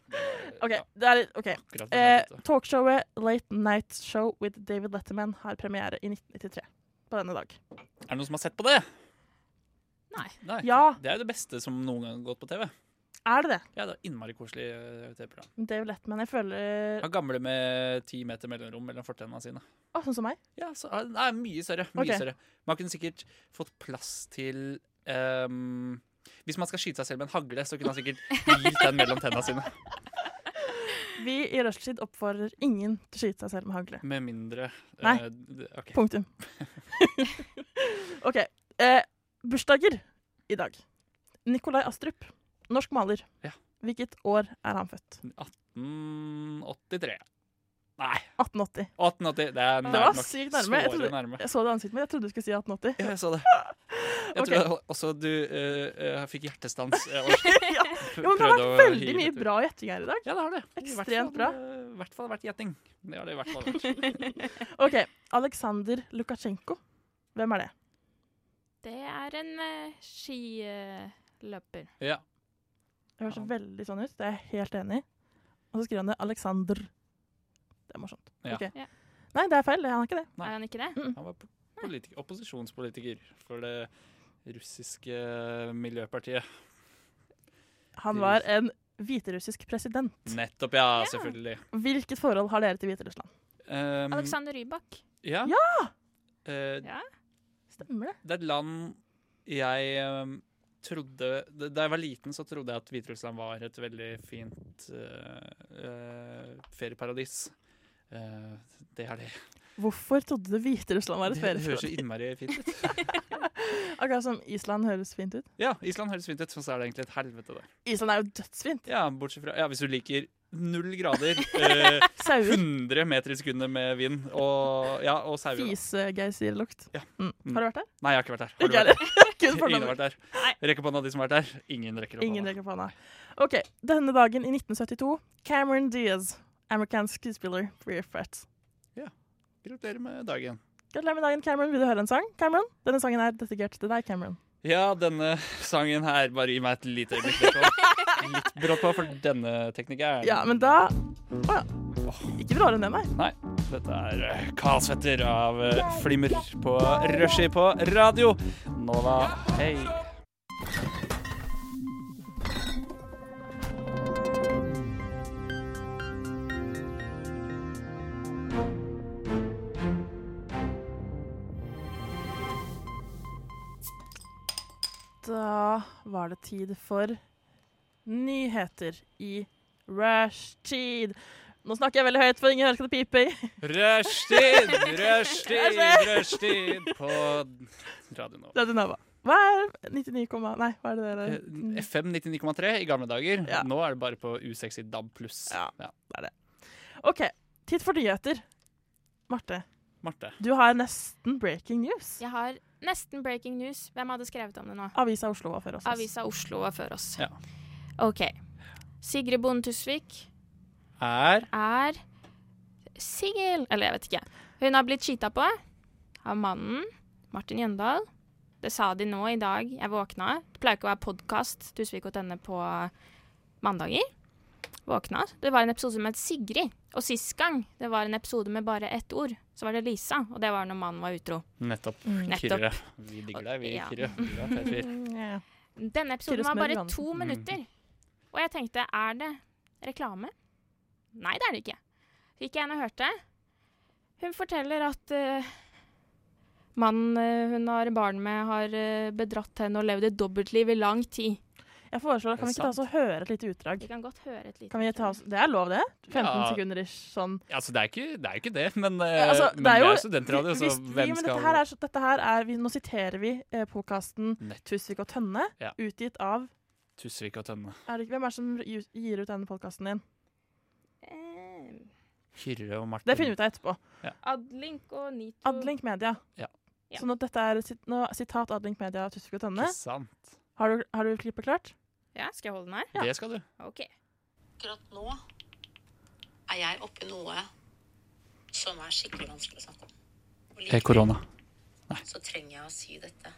OK. Det er, litt- ok.
Akkurat på
Eh,
nettet.
talkshowet Late Night Show with David Letterman har premiere i 1993. På denne dag.
Er det noen som har sett på det?
Nei.
Ja.
Det er jo det beste som noen gang har gått på TV.
Er det det?
Ja, det var Innmari koselig eh, TV-program.
David Letterman, jeg føler
Han gamle med ti meter mellomrom mellom fortennene sine.
Å, sånn som meg.
Ja, så, nei, mye større. Mye
Ok.
større. Man kunne sikkert fått plass til ehm, Hvis man skal skyte seg selv med en hagle, så kunne han sikkert hvilt den mellom tennene sine.
Vi i Rushtid oppfordrer ingen til å skyte seg selv med hagle.
Med mindre eh,
Nei.
d- ok.
Punktum. OK. Eh, bursdager i dag. Nikolai Astrup, norsk maler.
Ja.
Hvilket år er han født?
Mm, 83. Nei,
1880.
1880. Det er
Det
nært
var
nok.
sykt nærme. Jeg,
Såre
trodde,
nærme.
jeg så det i ansiktet mitt. Jeg trodde du skulle si 1880.
Ja, jeg så det. Jeg
Ok.
tror også du eh, eh, fikk hjertestans. eh, og
ja.
pr-
Jo, men det har
prøvde
vært
å
veldig
hive
mye
litt ut.
bra gjetting her i dag.
Ja, det har det. I hvert
Ekstremt
fall,
bra.
eh, I hvert fall vært gjetting. Det har det i hvert fall vært.
OK. Aleksandr Lukasjenko. Hvem er det?
Det er en uh, skiløper.
Ja.
Det høres
Ja.
veldig sånn ut. Det er jeg helt enig i. Og så skriver han det Alexander. Det er morsomt.
Ja.
Ok.
Ja.
Nei, det er feil. Han er ikke det.
Nei.
Er han ikke det?
Mm.
Han var po- politiker, opposisjonspolitiker for det russiske miljøpartiet.
Han var en hviterussisk president.
Nettopp, ja.
Ja.
Selvfølgelig.
Hvilket forhold har dere til Hviterussland?
Um,
Alexander Rybak.
Ehm, Ja. Eh,
Ja.
Stemmer det?
det er et land jeg um, trodde Da da jeg var liten, så trodde jeg at Hviterussland var et veldig fint eh, eh, ferieparadis. Eh, det er det.
Hvorfor trodde du Hviterussland var et
Det høres
ferieforum?
jo innmari fint ut.
Akkurat som Island høres fint ut.
Ja, Island høres fint ut, men så er det egentlig et helvete der.
Island er jo dødsfint.
Ja, bortsett fra Ja, hvis du liker null grader, eh,
Sauer,
100 meter i sekundet med vind og, ja, og sauer. da.
fisegeysirlukt.
Ja.
Mm.
Mm.
Har du vært der?
Nei, jeg har ikke vært der.
Ikke
vært der?
heller. Kun
Ingen har
fordommer.
vært der. Rekk opp hånda, de som har vært der. Ingen rekker opp
Ingen
hånda.
rekker på henne. OK. Denne dagen i 1972, Cameron Diaz, amerikansk skuespiller, Rear Fret.
Gratulerer med dagen.
Gratulerer med dagen, Cameron. Vil du høre en sang? Cameron? Denne sangen er dedikert til deg, Cameron.
Ja, denne sangen her Bare gi meg et lite øyeblikk. det kom Litt brått på, for denne teknikeren
Ja, men da Å ja. Ikke bråere enn det, nei.
Nei. Dette er eh, Karl Svetter av eh, Flimmer på Rushy på radio. Nova, hei.
Da var det tid for nyheter i rushtid. Nå snakker jeg veldig høyt, for ingen hører skal det pipe i.
Rushtid, rushtid, rushtid på Radio Nova.
Radio Nova. Hva er 99, komma- nei, hva er det der?
Eh, FM 99,3 i gamle dager.
Ja.
Nå er det bare på usexy DAB pluss.
Ja. OK, tid for nyheter. Marte,
Marte.
du har nesten breaking news.
Jeg har nesten breaking news. Hvem hadde skrevet om det nå?
Avisa Oslo var før oss.
Avisa Oslo var før oss.
Ja.
OK. Sigrid Bonde Tusvik
Er
er singel. Eller jeg vet ikke. Hun har blitt cheata på av mannen Martin Jøndal. Det sa de nå i dag. Jeg våkna. Det pleier ikke å være podkast Tusvik og Tønne på mandager. Våkna. Det var en episode som het Sigrid. Og sist gang det var en episode med bare ett ord, så var det Lisa. Og det var når mannen var utro.
Nettopp.
Mm.
Nettopp.
Kyrre. Vi digger deg, vi,
Ja.
Kyrre. Du er fet fyr.
Ja.
Denne episoden
Kyrre
var bare
Smør-Johansen.
to minutter. Og jeg tenkte, er det reklame? Nei, det er det ikke. Så gikk jeg inn og hørte. Hun forteller at eh, mannen eh, hun har barn med, har eh, bedratt henne og levd et dobbeltliv i lang tid.
Jeg foreslår, kan vi
Er det
ikke ta oss og høre et lite utdrag?
Vi kan godt høre et lite
Kan vi ta oss, det er lov, det? 15
Ja.
sekunder ish, sånn.
Altså, det er, ikke, det er jo ikke det, men, eh,
Ja, altså,
men
det er jo-
vi er studentradio, så
Hvis vi-
hvem
men
skal
dette her er, så- dette her er vi, Nå siterer vi eh, podkasten
Nett.
Tusvik og Tønne,
Ja.
utgitt av
Tusvik og Tønne.
er det, ikke- Hvem er det som gi- gir ut denne podkasten din?
Eh,
Kyrre og Martin.
Det finner vi ut av etterpå.
Adlink og Nito.
Adlink Media.
Ja.
Ja.
Så nå, dette er sit- nå, sitat Adlink Media av Tusvik og Tønne.
Ikke sant.
Har du, har du klippet klart?
Ja, skal jeg holde den her?
Det skal du.
Ok.
akkurat nå er jeg oppe i noe som er skikkelig vanskelig å snakke om. Og likevel
Korona.
så trenger jeg å si dette.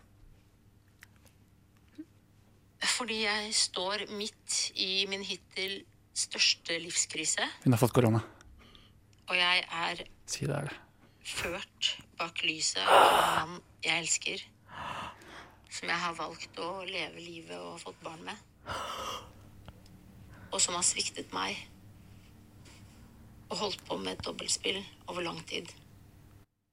fordi jeg står midt i min hittil største livskrise,
Hun har fått korona.
og jeg er
Si det er det.
ført bak lyset av en mann jeg elsker, som jeg har valgt å leve livet og fått barn med, og som har sviktet meg og holdt på med et dobbeltspill over lang tid.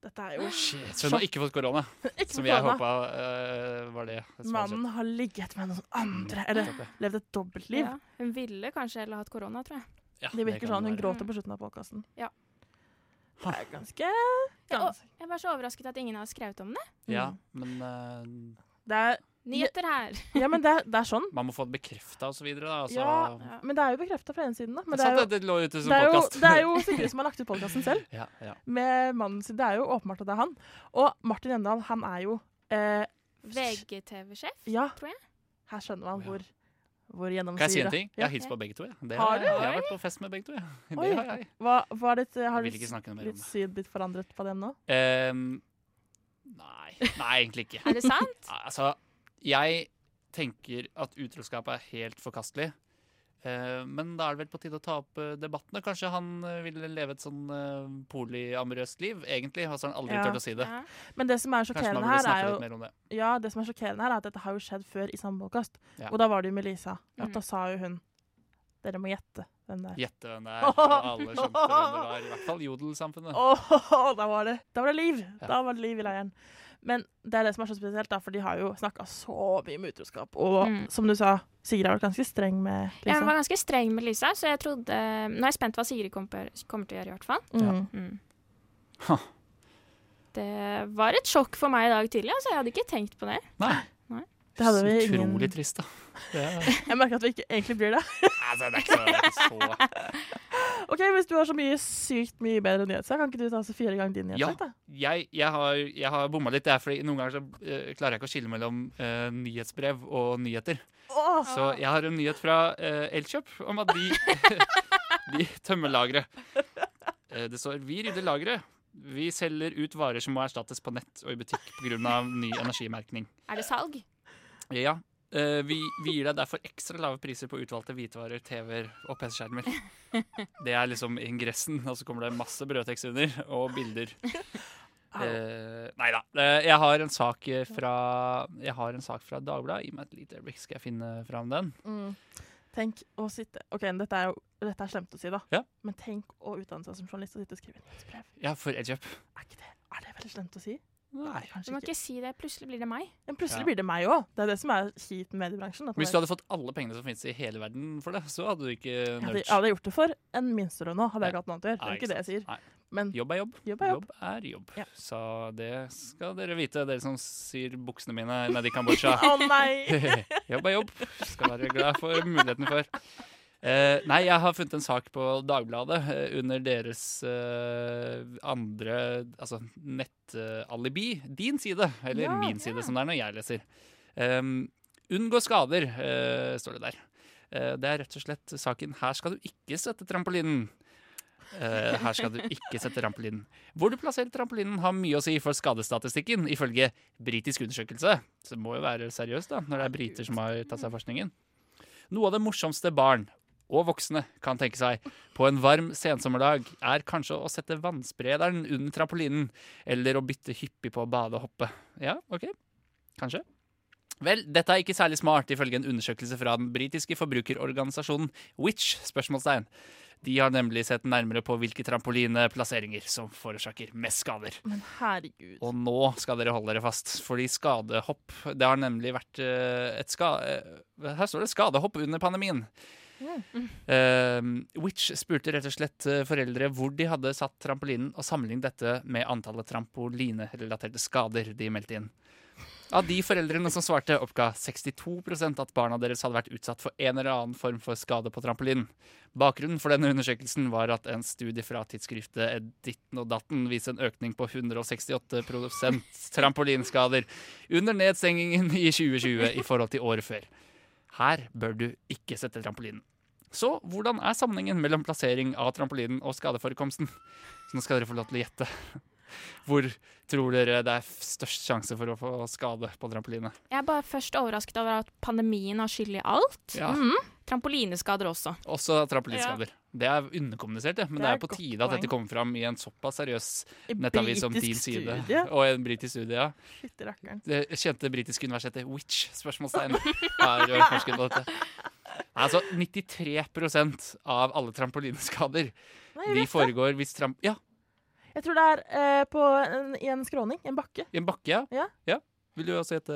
Dette er jo
Shit, så hun har ikke fått korona,
ikke
som jeg
forstående.
håpa eh, var det. som hadde skjedd.
Mannen har ligget med noen andre, eller levd et dobbeltliv.
Ja, hun ville kanskje heller hatt korona, tror jeg.
Ja,
Det virker
kan
sånn. Hun
være.
gråter på slutten av podkasten.
Ja.
Det er ganske
Ja,
ganske-
og jeg var så overrasket at ingen har skrevet om det.
Ja, men eh,
Det er,
Nyheter her!
ja, men det er, det er sånn.
man må få det bekrefta og så videre, da. Altså,
Ja,
det,
Ja.
Men det er jo bekrefta fra ene siden, da. Men det
er
er jo,
sant, det, det lå ute som
det er jo,
podkast.
det er jo Sigrid som har lagt ut podkasten selv.
ja, ja.
Med mannen sin. Det er jo åpenbart at det er han. Og Martin Endal, han er jo eh,
VGTV-sjef.
Ja.
Tror jeg.
Her skjønner man
Å, ja.
hvor, hvor gjennomsyra
Kan jeg si en ting? Jeg
Ja.
har hilst på begge to. Jeg. Det
Har
har,
du?
jeg, jeg har vært på fest med begge to. Jeg.
Oi.
Det har jeg.
Hva, hva er ditt, eh, har
Jeg vil
ditt,
ikke snakke noe mer om
ditt
det.
syn blitt forandret på dem nå?
Ehm, nei. Nei, egentlig ikke.
Er det sant?
Altså, jeg tenker at utroskap er helt forkastelig. Eh, Men da er det vel på tide å ta opp eh, debattene. Kanskje han eh, ville leve et sånn eh, polyamorøst liv, egentlig. Altså, han aldri
Ja.
tørt å si det.
Ja.
Men det som er
Kanskje man
sjokkerende
burde
her, er
snakke
jo
litt mer om det.
Ja, det som er sjokkerende her er at dette har jo skjedd før i samme podkast.
Ja.
Og da var det jo med Lisa.
Ja.
Og da sa jo hun Dere må gjette hvem det er.
Gjette hvem det er. og Alle skjønte hvem det var. I hvert fall jodelsamfunnet.
Åh, da var det Da var det liv!
Ja.
Da var det liv i leiren. Men det er det som er så spesielt, da, for de har jo snakka så mye om utroskap. Og
Mm.
som du sa, Sigrid har vært ganske streng med
Ja, Hun
Lisa.
var ganske streng med Lisa, så jeg trodde Nå er jeg spent hva Sigrid kommer, kommer til å gjøre, i hvert fall.
Mm.
Mm.
Ha.
Det var et sjokk for meg i dag tidlig, altså. Jeg hadde ikke tenkt på det.
Nei.
Nei.
Det hadde vi
så
ingen-
utrolig trist, da. Det er,
Jeg merker at vi ikke egentlig blir det.
altså, det er ikke så, det er ikke så
Ok, Hvis du har så mye sykt mye bedre nyhetssak, kan ikke du ta så fire ganger din
Ja.
nyhetssak, da?
jeg, jeg har, jeg har bomma litt. Det er fordi Noen ganger så eh, klarer jeg ikke å skille mellom eh, nyhetsbrev og nyheter.
Åh,
Så jeg har en nyhet fra eh, Elkjøp om at de, de tømmer lageret. Eh, det står 'Vi rydder lageret'. Vi selger ut varer som må erstattes på nett og i butikk pga. ny energimerkning.
Er det salg?
Ja, eh, vi, vi gir deg derfor ekstra lave priser på utvalgte hvitvarer, TV-er og PC-skjermer. Det er liksom ingressen, og så kommer det masse brødtekst under, og bilder. Uh, nei da. Eh, jeg har en sak eh, fra Jeg har en sak fra Dagbladet. Gi meg et lite øyeblikk, skal jeg finne fram den.
Mm. Tenk å sitte Ok, dette er jo dette er slemt å si, da.
Ja.
Men tenk å utdanne seg som journalist og sitte og skrive nyhetsbrev.
Ja, for Edgeup.
Er, ikke det, er det veldig slemt å si?
Nei.
Du
Kanskje
må
ikke.
ikke si det. Plutselig blir det meg.
Men plutselig
Ja.
blir det meg òg. Det er det som er kjipt med mediebransjen. at
Hvis du
man-
hadde fått alle pengene som finnes i hele verden for det, så hadde du ikke
hadde,
nølt.
jeg hadde gjort det for en minstelønn nå, hadde jeg ikke hatt noe annet å gjøre. Det
Nei,
er ikke det jeg sier.
sant. Nei.
Men
Jobb er jobb.
Jobb er jobb.
er jobb.
Ja.
Så det skal dere vite, dere som syr buksene mine nede i Kambodsja.
å nei!
jobb er jobb. Skal være glad for muligheten for. Eh, nei, jeg har funnet en sak på Dagbladet eh, under deres eh, andre altså nettalibi. din side, eller
Ja,
min side, som det er når jeg leser. Em, unngå skader, eh, står det der. Eh, det er rett og slett saken 'Her skal du ikke sette trampolinen'. Eh, her skal du ikke sette trampolinen. Hvor du plasserer trampolinen har mye å si for skadestatistikken, ifølge britisk undersøkelse. Så det må jo være seriøst, da, når det er briter som har tatt seg forskningen. Noe av det morsomste barn og voksne kan tenke seg på en varm sensommerdag, er kanskje å sette vannsprederen under trampolinen, eller å bytte hyppig på å bade og hoppe. Ja, OK. Kanskje. Vel, dette er ikke særlig smart, ifølge en undersøkelse fra den britiske forbrukerorganisasjonen Which? spørsmålstegn. De har nemlig sett nærmere på hvilke trampolineplasseringer som forårsaker mest skader.
Men herregud.
Og nå skal dere holde dere fast, fordi skadehopp Det har nemlig vært eh, et ska... eh, Her står det 'skadehopp under pandemien'. Eh, Which spurte rett og slett eh, foreldre hvor de hadde satt trampolinen, og sammenlignet dette med antallet trampolinerelaterte skader de meldte inn. Av de foreldrene som svarte, oppga 62 at barna deres hadde vært utsatt for en eller annen form for skade på trampolinen. Bakgrunnen for denne undersøkelsen var at en studie fra tidsskriftet Ditten og Datten viser en økning på 168 trampolinskader under nedstengingen i 2020 i forhold til året før. Her bør du ikke sette trampolinen. Så hvordan er sammenhengen mellom plassering av trampolinen og skadeforekomsten? Så nå skal dere få lov til å gjette. Hvor tror dere det er f- størst sjanse for å få skade på trampoline?
Jeg er bare først overrasket over at pandemien har skyld i alt.
Ja,
Mm. Trampolineskader også.
Også trampolineskader. Det er underkommunisert, det. men
Det
det
er
er,
et
på
godt
tide at
poeng.
dette kommer fram i en såpass seriøs
I
nettavis som Din
britisk
Side.
studie.
Og en britisk studie, ja.
Fytti rakkeren.
Det kjente britiske universitetet Which? spørsmålstegn har forsket på dette. Altså, 93 av alle trampolineskader
Nei, jeg
De
vet det.
foregår hvis tramp... Ja,
Jeg tror det er eh, på en, i en skråning. En bakke.
i en bakke,
Ja.
ja. Vil du også gjette,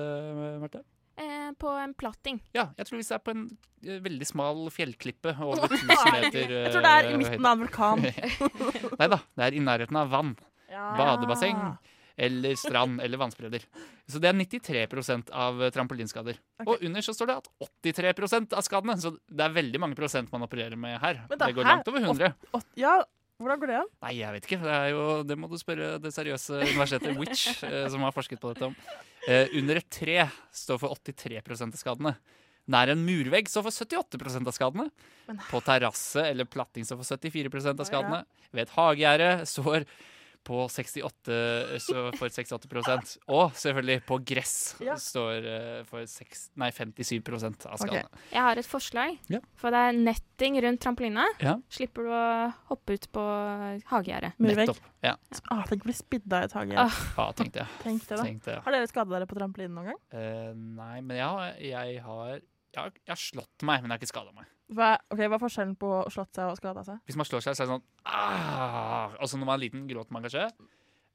Marte?
Eh, på en platting.
Ja, jeg tror hvis det er på en eh, veldig smal fjellklippe over 1000 meter
Jeg tror det er i midten av en vulkan.
Nei da, det er i nærheten av vann.
Ja.
Badebasseng. Eller strand eller vannspreder. Så det er 93 av eh, trampolinskader. Og under så står det at 83 av skadene. Så det er veldig mange prosent man opererer med her.
Men da,
Det går
hæ?
langt over 100.
Å, ja, hvordan går det an?
Nei, jeg vet ikke. Det, er jo, det må du spørre det seriøse universitetet Witch, eh, som har forsket på dette, om. Eh, under et tre står for 83 av skadene. Nær en murvegg står for 78 av skadene.
Men-
På terrasse eller platting står for 74 av skadene. Ved et hagegjerde står på 68, så for 68 Og selvfølgelig på gress
Ja.
står eh, for seks- nei, 57 av
Ok.
skadene.
Jeg har et forslag.
Ja.
For det er netting rundt trampolina.
Ja.
Slipper du å hoppe ut på hagegjerdet.
Murvegg.
Nettopp. Ja,
Ah, tenk å bli spidda i et hage.
Ah.
ja tenkte jeg.
Tenk det, da.
Tenkte jeg.
Har dere skada dere på trampolinen noen gang?
Eh, nei, men jeg har, jeg har jeg har, jeg har slått meg, men jeg har ikke skada meg.
Hva, ok, hva er forskjellen på å slått seg og skada seg?
Hvis man slår seg, så er det sånn «Ah!» Og så når man er liten, gråter man kanskje.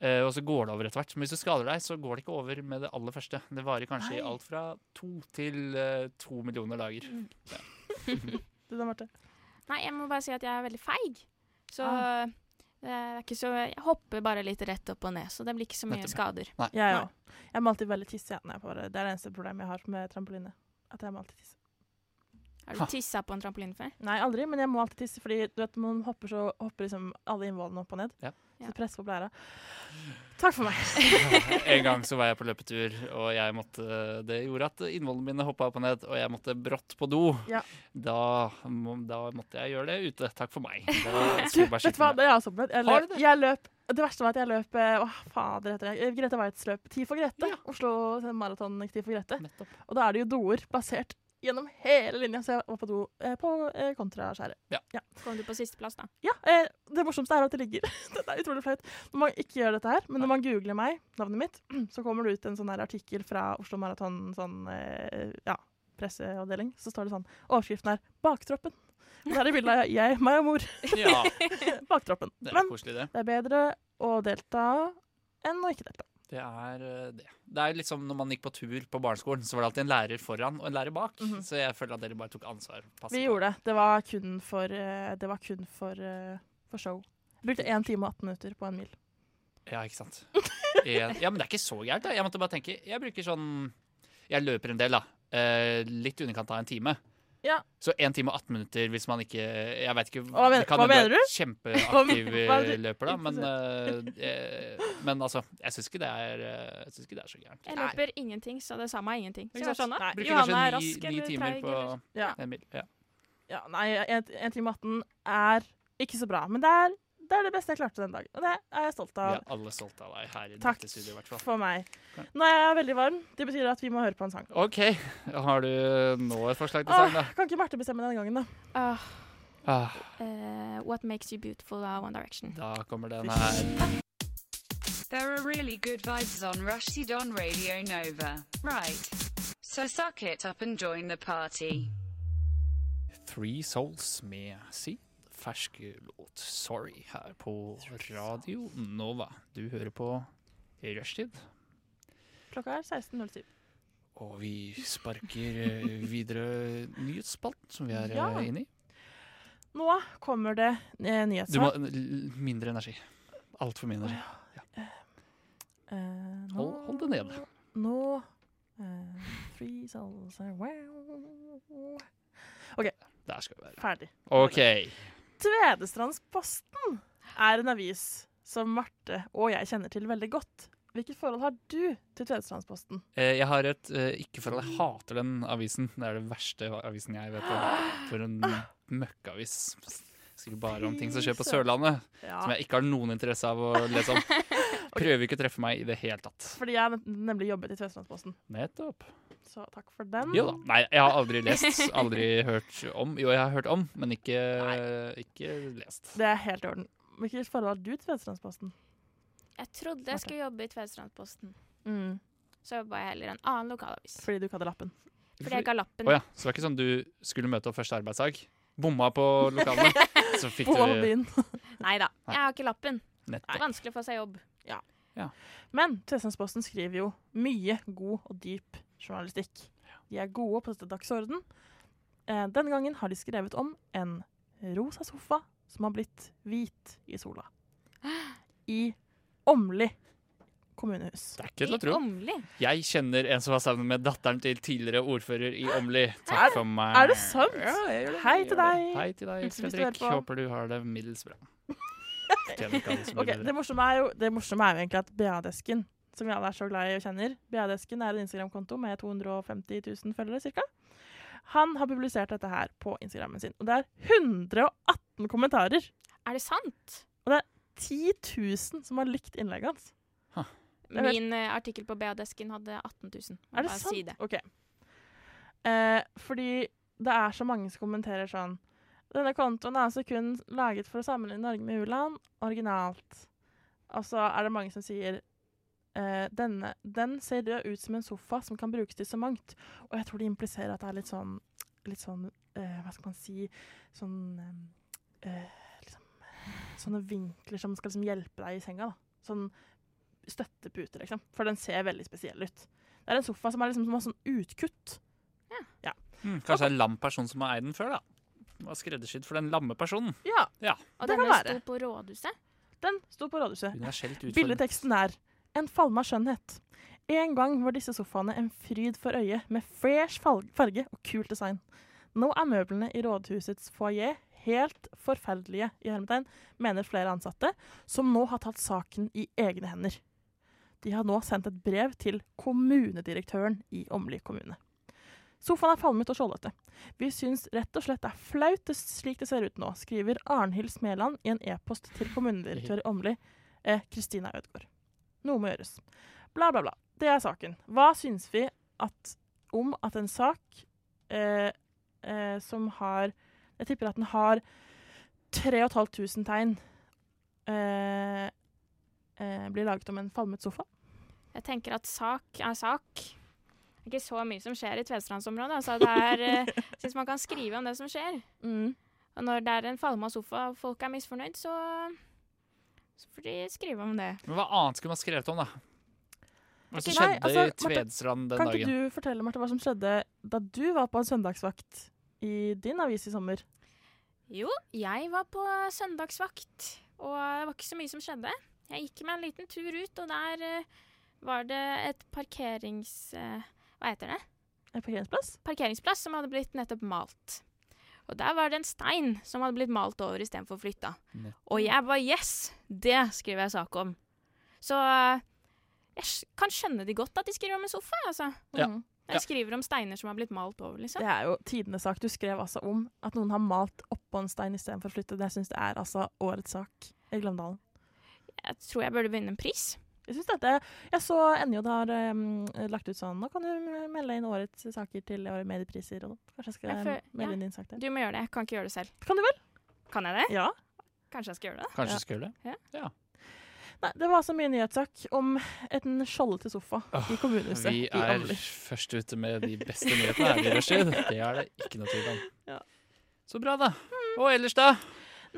Eh, og så går det over etter hvert. Men hvis du skader deg, så går det ikke over med det aller første. Det varer kanskje i
Nei. Mm.
alt fra to til eh, to millioner dager.
Du da, Marte?
Nei, jeg må bare si at jeg er veldig feig. Så eh,
Ah.
det er ikke så Jeg hopper bare litt rett opp og ned, så det blir ikke så mye
Nettopp.
skader.
Jeg òg. Jeg må alltid veldig tisse når jeg er på det. Det er det eneste problemet jeg har med trampoline. At jeg må alltid tisse.
Har
Ha.
du tissa på en trampoline før?
Nei, aldri, men jeg må alltid tisse, fordi du vet, man hopper så hopper liksom alle innvollene opp og ned.
Ja.
Så press på blæra. Takk for meg.
En gang så var jeg på løpetur, og jeg måtte, det gjorde at innvollene mine hoppa opp og ned, og jeg måtte brått på do.
Ja.
Da, må- da måtte jeg gjøre det ute. Takk for meg. Det var
Du, vet du hva, det har jeg også opplevd. Jeg
Har
løp,
du det?
jeg løp det verste var at jeg løp eh, Åh, fader heter det. Eh, Grete Waitz løp Tid for Grete. Oslo maraton Tid for Grete.
Nettopp.
Og da er det jo doer plassert gjennom hele linja, så jeg var på do eh, på eh, kontraskjæret.
Kom du på sisteplass, da?
Ja, eh, det morsomste er at det ligger Dette er utrolig flaut. Når man ikke gjør dette her, men når man googler meg, navnet mitt, så kommer det ut en sånn her artikkel fra Oslo Maraton sånn, eh, ja, presseavdeling. Så står det sånn Overskriften er 'Baktroppen'. Og Der er bildet av jeg, meg og mor.
Ja,
Baktroppen.
det
Men
er koselig, det.
det er bedre å delta enn å ikke delta.
Det er eh, det. Det er liksom når man gikk på tur på barneskolen, så var det alltid en lærer foran og en lærer bak.
Mhm.
Så jeg føler at dere bare tok ansvar. Passet
Vi
på.
gjorde det. Det var kun for, eh, det var kun for, eh, for show. Jeg brukte 1 time og 18 minutter på en mil.
Ja, ikke sant. En, ja, men det er ikke så gærent. da. Jeg måtte bare tenke Jeg bruker sånn Jeg løper en del, da. Eh, litt i underkant av en time.
Ja.
Så 1 time og 18 minutter hvis man ikke Jeg vet ikke
Hva men-
det kan
hva mener
hende du? er Kjempeaktiv
Hva men- hva er det du-
løper, da. Men, eh, eh, men altså, jeg syns ikke det er eh, Jeg syns ikke det er så gærent.
Jeg løper ingenting, så det sa meg ingenting. Så
Ikke
jeg sånn,
sant?
skjønner.
Bruker
Johanna er
kanskje
rask
ni, ni
eller
timer
treig eller
på
Ja.
en mil. Ja.
Ja, nei, 1 time og 18 er ikke så bra, men det er det, er det beste jeg klarte den dagen. Og det er jeg stolt
Vi
av.
er alle stolte av deg her i
Takk
dette studioet, i hvert fall.
for meg.
Ja.
Nå er jeg veldig varm. Det betyr at vi må høre på en sang.
OK. Har du nå et forslag til sang,
Åh,
da?
kan ikke Marte bestemme denne gangen, da?
Åh,
Ah,
eh, What Makes You Beautiful av One Direction.
da kommer den her.
There are really good vibes on Rushdie on Radio Nova, right? So suck it up and join the party.
Three Souls med sin ferske låt 'Sorry' her på Radio Nova. Du hører på Rushtid,
Klokka er 16.07.
og vi sparker eh, videre nyhetsspalten som vi er eh,
Ja.
inne i.
Nå kommer det eh,
Du må
nyhetssak.
l- mindre energi. Altfor mye energi.
Eh, nå-
Hold, hold det nede.
Nå eh, Three souls are wow.
Der skal vi være.
Ferdig.
OK.
Tvedestrandsposten er en avis som Marte og jeg kjenner til veldig godt. Hvilket forhold har du til Tvedestrandsposten?
Eh, Jeg har et eh, ikke-forhold. Jeg hater den avisen. Det er det verste avisen jeg vet om. For en møkkavis. Skriver bare om ting som skjer på Sørlandet, som jeg ikke har noen interesse av å lese om. Prøver ikke å treffe meg i det hele tatt.
Fordi jeg nem- nemlig jobbet i Tvedestrandposten.
Nettopp.
Så takk for den.
Jo da. Nei, jeg har aldri lest, aldri hørt om. Jo, jeg har hørt om, men ikke, ikke lest.
Det er helt i orden. Hvilket forhold har du til Tvedestrandposten?
Jeg trodde jeg skulle jobbe i Tvedestrandposten,
Mm.
så jobba jeg heller i en annen lokalavis.
Fordi du ikke hadde lappen.
Fordi jeg ga lappen.
Å ja, så det var ikke sånn du skulle møte opp første arbeidsdag, bomma på lokalene, så fikk
På
du
byen.
Nei da,
Nei.
jeg har ikke lappen.
nettopp.
Vanskelig å få seg jobb.
Men Tvedestrandposten skriver jo mye god og dyp journalistikk. De er gode på dette dagsorden. Eh, Denne gangen har de skrevet om en rosa sofa som har blitt hvit i sola. I Åmli kommunehus.
Det er ikke til å tro.
Åmli.
Jeg kjenner en som var sammen med datteren til tidligere ordfører i Åmli.
Er-
Takk for meg.
er det sant?
Ja, jeg gjør det.
Hei
jeg
til
gjør det.
deg.
Hei til deg,
Hvis du hører
Fredrik.
på.
Håper du har det middels bra. Fortjener ikke alle som
Ok,
gjør det.
det morsomme er jo, det morsomme er jo egentlig at BA-desken, som vi alle er så glad i og kjenner BA-desken er en Instagram-konto med 250 000 følgere cirka. Han har publisert dette her på Instagrammen sin, og det er 118 kommentarer.
Er det sant?
10 000 som har likt innlegget hans. Jeg vet-
Min eh, artikkel på BA-desken hadde 18 000.
Er det
Bare
sant?
Si det.
Ok. Eh, fordi det er så mange som kommenterer sånn Denne kontoen er altså kun laget for å sammenligne Norge med u-land. Originalt. Og så er det mange som sier eh, denne, Den ser rød ut som en sofa som kan brukes til så mangt. Og jeg tror det impliserer at det er litt sånn, litt sånn eh, Hva skal man si Sånn eh, eh, liksom, Sånne vinkler som skal liksom hjelpe deg i senga. da. Sånn støttepute, liksom. For den ser veldig spesiell ut. Det er en sofa som, er liksom, som har sånn utkutt.
Hmm, kanskje det er en lam person som har eid den før, da. Den Var skreddersydd for den lamme personen.
Ja,
Og
Det kan
denne
være.
sto på rådhuset.
den sto på rådhuset.
Universelt utformet.
Billedteksten er En falma skjønnhet. En gang var disse sofaene en fryd for øyet, med fresh fal- farge og kult design. Nå er møblene i rådhusets foajé helt forferdelige, i hermetegn, mener flere ansatte, som nå har tatt saken i egne hender. De har nå sendt et brev til kommunedirektøren i Åmli kommune. Sofaen er falmet og skjoldete. Vi syns rett og slett det er flaut det- slik det ser ut nå, skriver Arnhild Smeland i en e-post til kommunedirektør i Åmli, eh, Kristina Ødgaard. Noe må gjøres. Bla, bla, bla. Det er saken. Hva syns vi at, om at en sak eh, eh, som har Jeg tipper at den har 3500 tegn. Eh, eh, blir laget om en falmet sofa.
Jeg tenker at sak er sak. Det er ikke så mye som skjer i Tvedestrandsområdet. Altså, det er, eh, jeg synes man kan skrive om det som skjer. Mm. Og når det er en falma sofa og folk er misfornøyd, så, så får de skrive om det.
Men hva annet skulle man skrevet om, da? Hva som
Ok, nei,
skjedde
altså,
i Tvedestrand den
Kan ikke
dagen?
du fortelle Marte, hva som skjedde da du var på en søndagsvakt i din avis i sommer?
Jo, jeg var på søndagsvakt, og det var ikke så mye som skjedde. Jeg gikk med en liten tur ut, og der eh, var det et parkerings... eh, hva heter det?
En parkeringsplass?
Parkeringsplass som hadde blitt nettopp malt. Og der var det en stein som hadde blitt malt over istedenfor flytta.
Nettopp.
Og jeg bare yes! Det skriver jeg sak om. Så eh, jeg sk- kan skjønne de godt at de skriver om en sofa, altså.
Ja.
Mhm.
Jeg skriver om steiner som har blitt malt over, liksom.
Det er jo tidenes sak. Du skrev altså om at noen har malt oppå en stein istedenfor å flytte. Det syns jeg er altså årets sak i Glåmdalen.
Jeg tror jeg burde vinne en pris.
Jeg synes dette, jeg så NJ har em, lagt ut sånn Nå kan du melde inn årets saker til årets mediepriser. Og sånt. kanskje jeg skal
Jeg føl-
melde
ja.
inn din sak der.
Du må gjøre det. Jeg kan ikke gjøre det selv.
Kan du vel?
Kan jeg det?
Ja.
Kanskje jeg skal gjøre det?
Kanskje
Ja.
du skulle det?
Nei, det var altså mye nyhetssak om en skjoldete sofa i kommunehuset
Vi
i
er
Åmli.
først ute med de beste nyhetene her i rushtid. Det er det ikke noe tvil om.
Ja.
Så bra, da. Og ellers, da?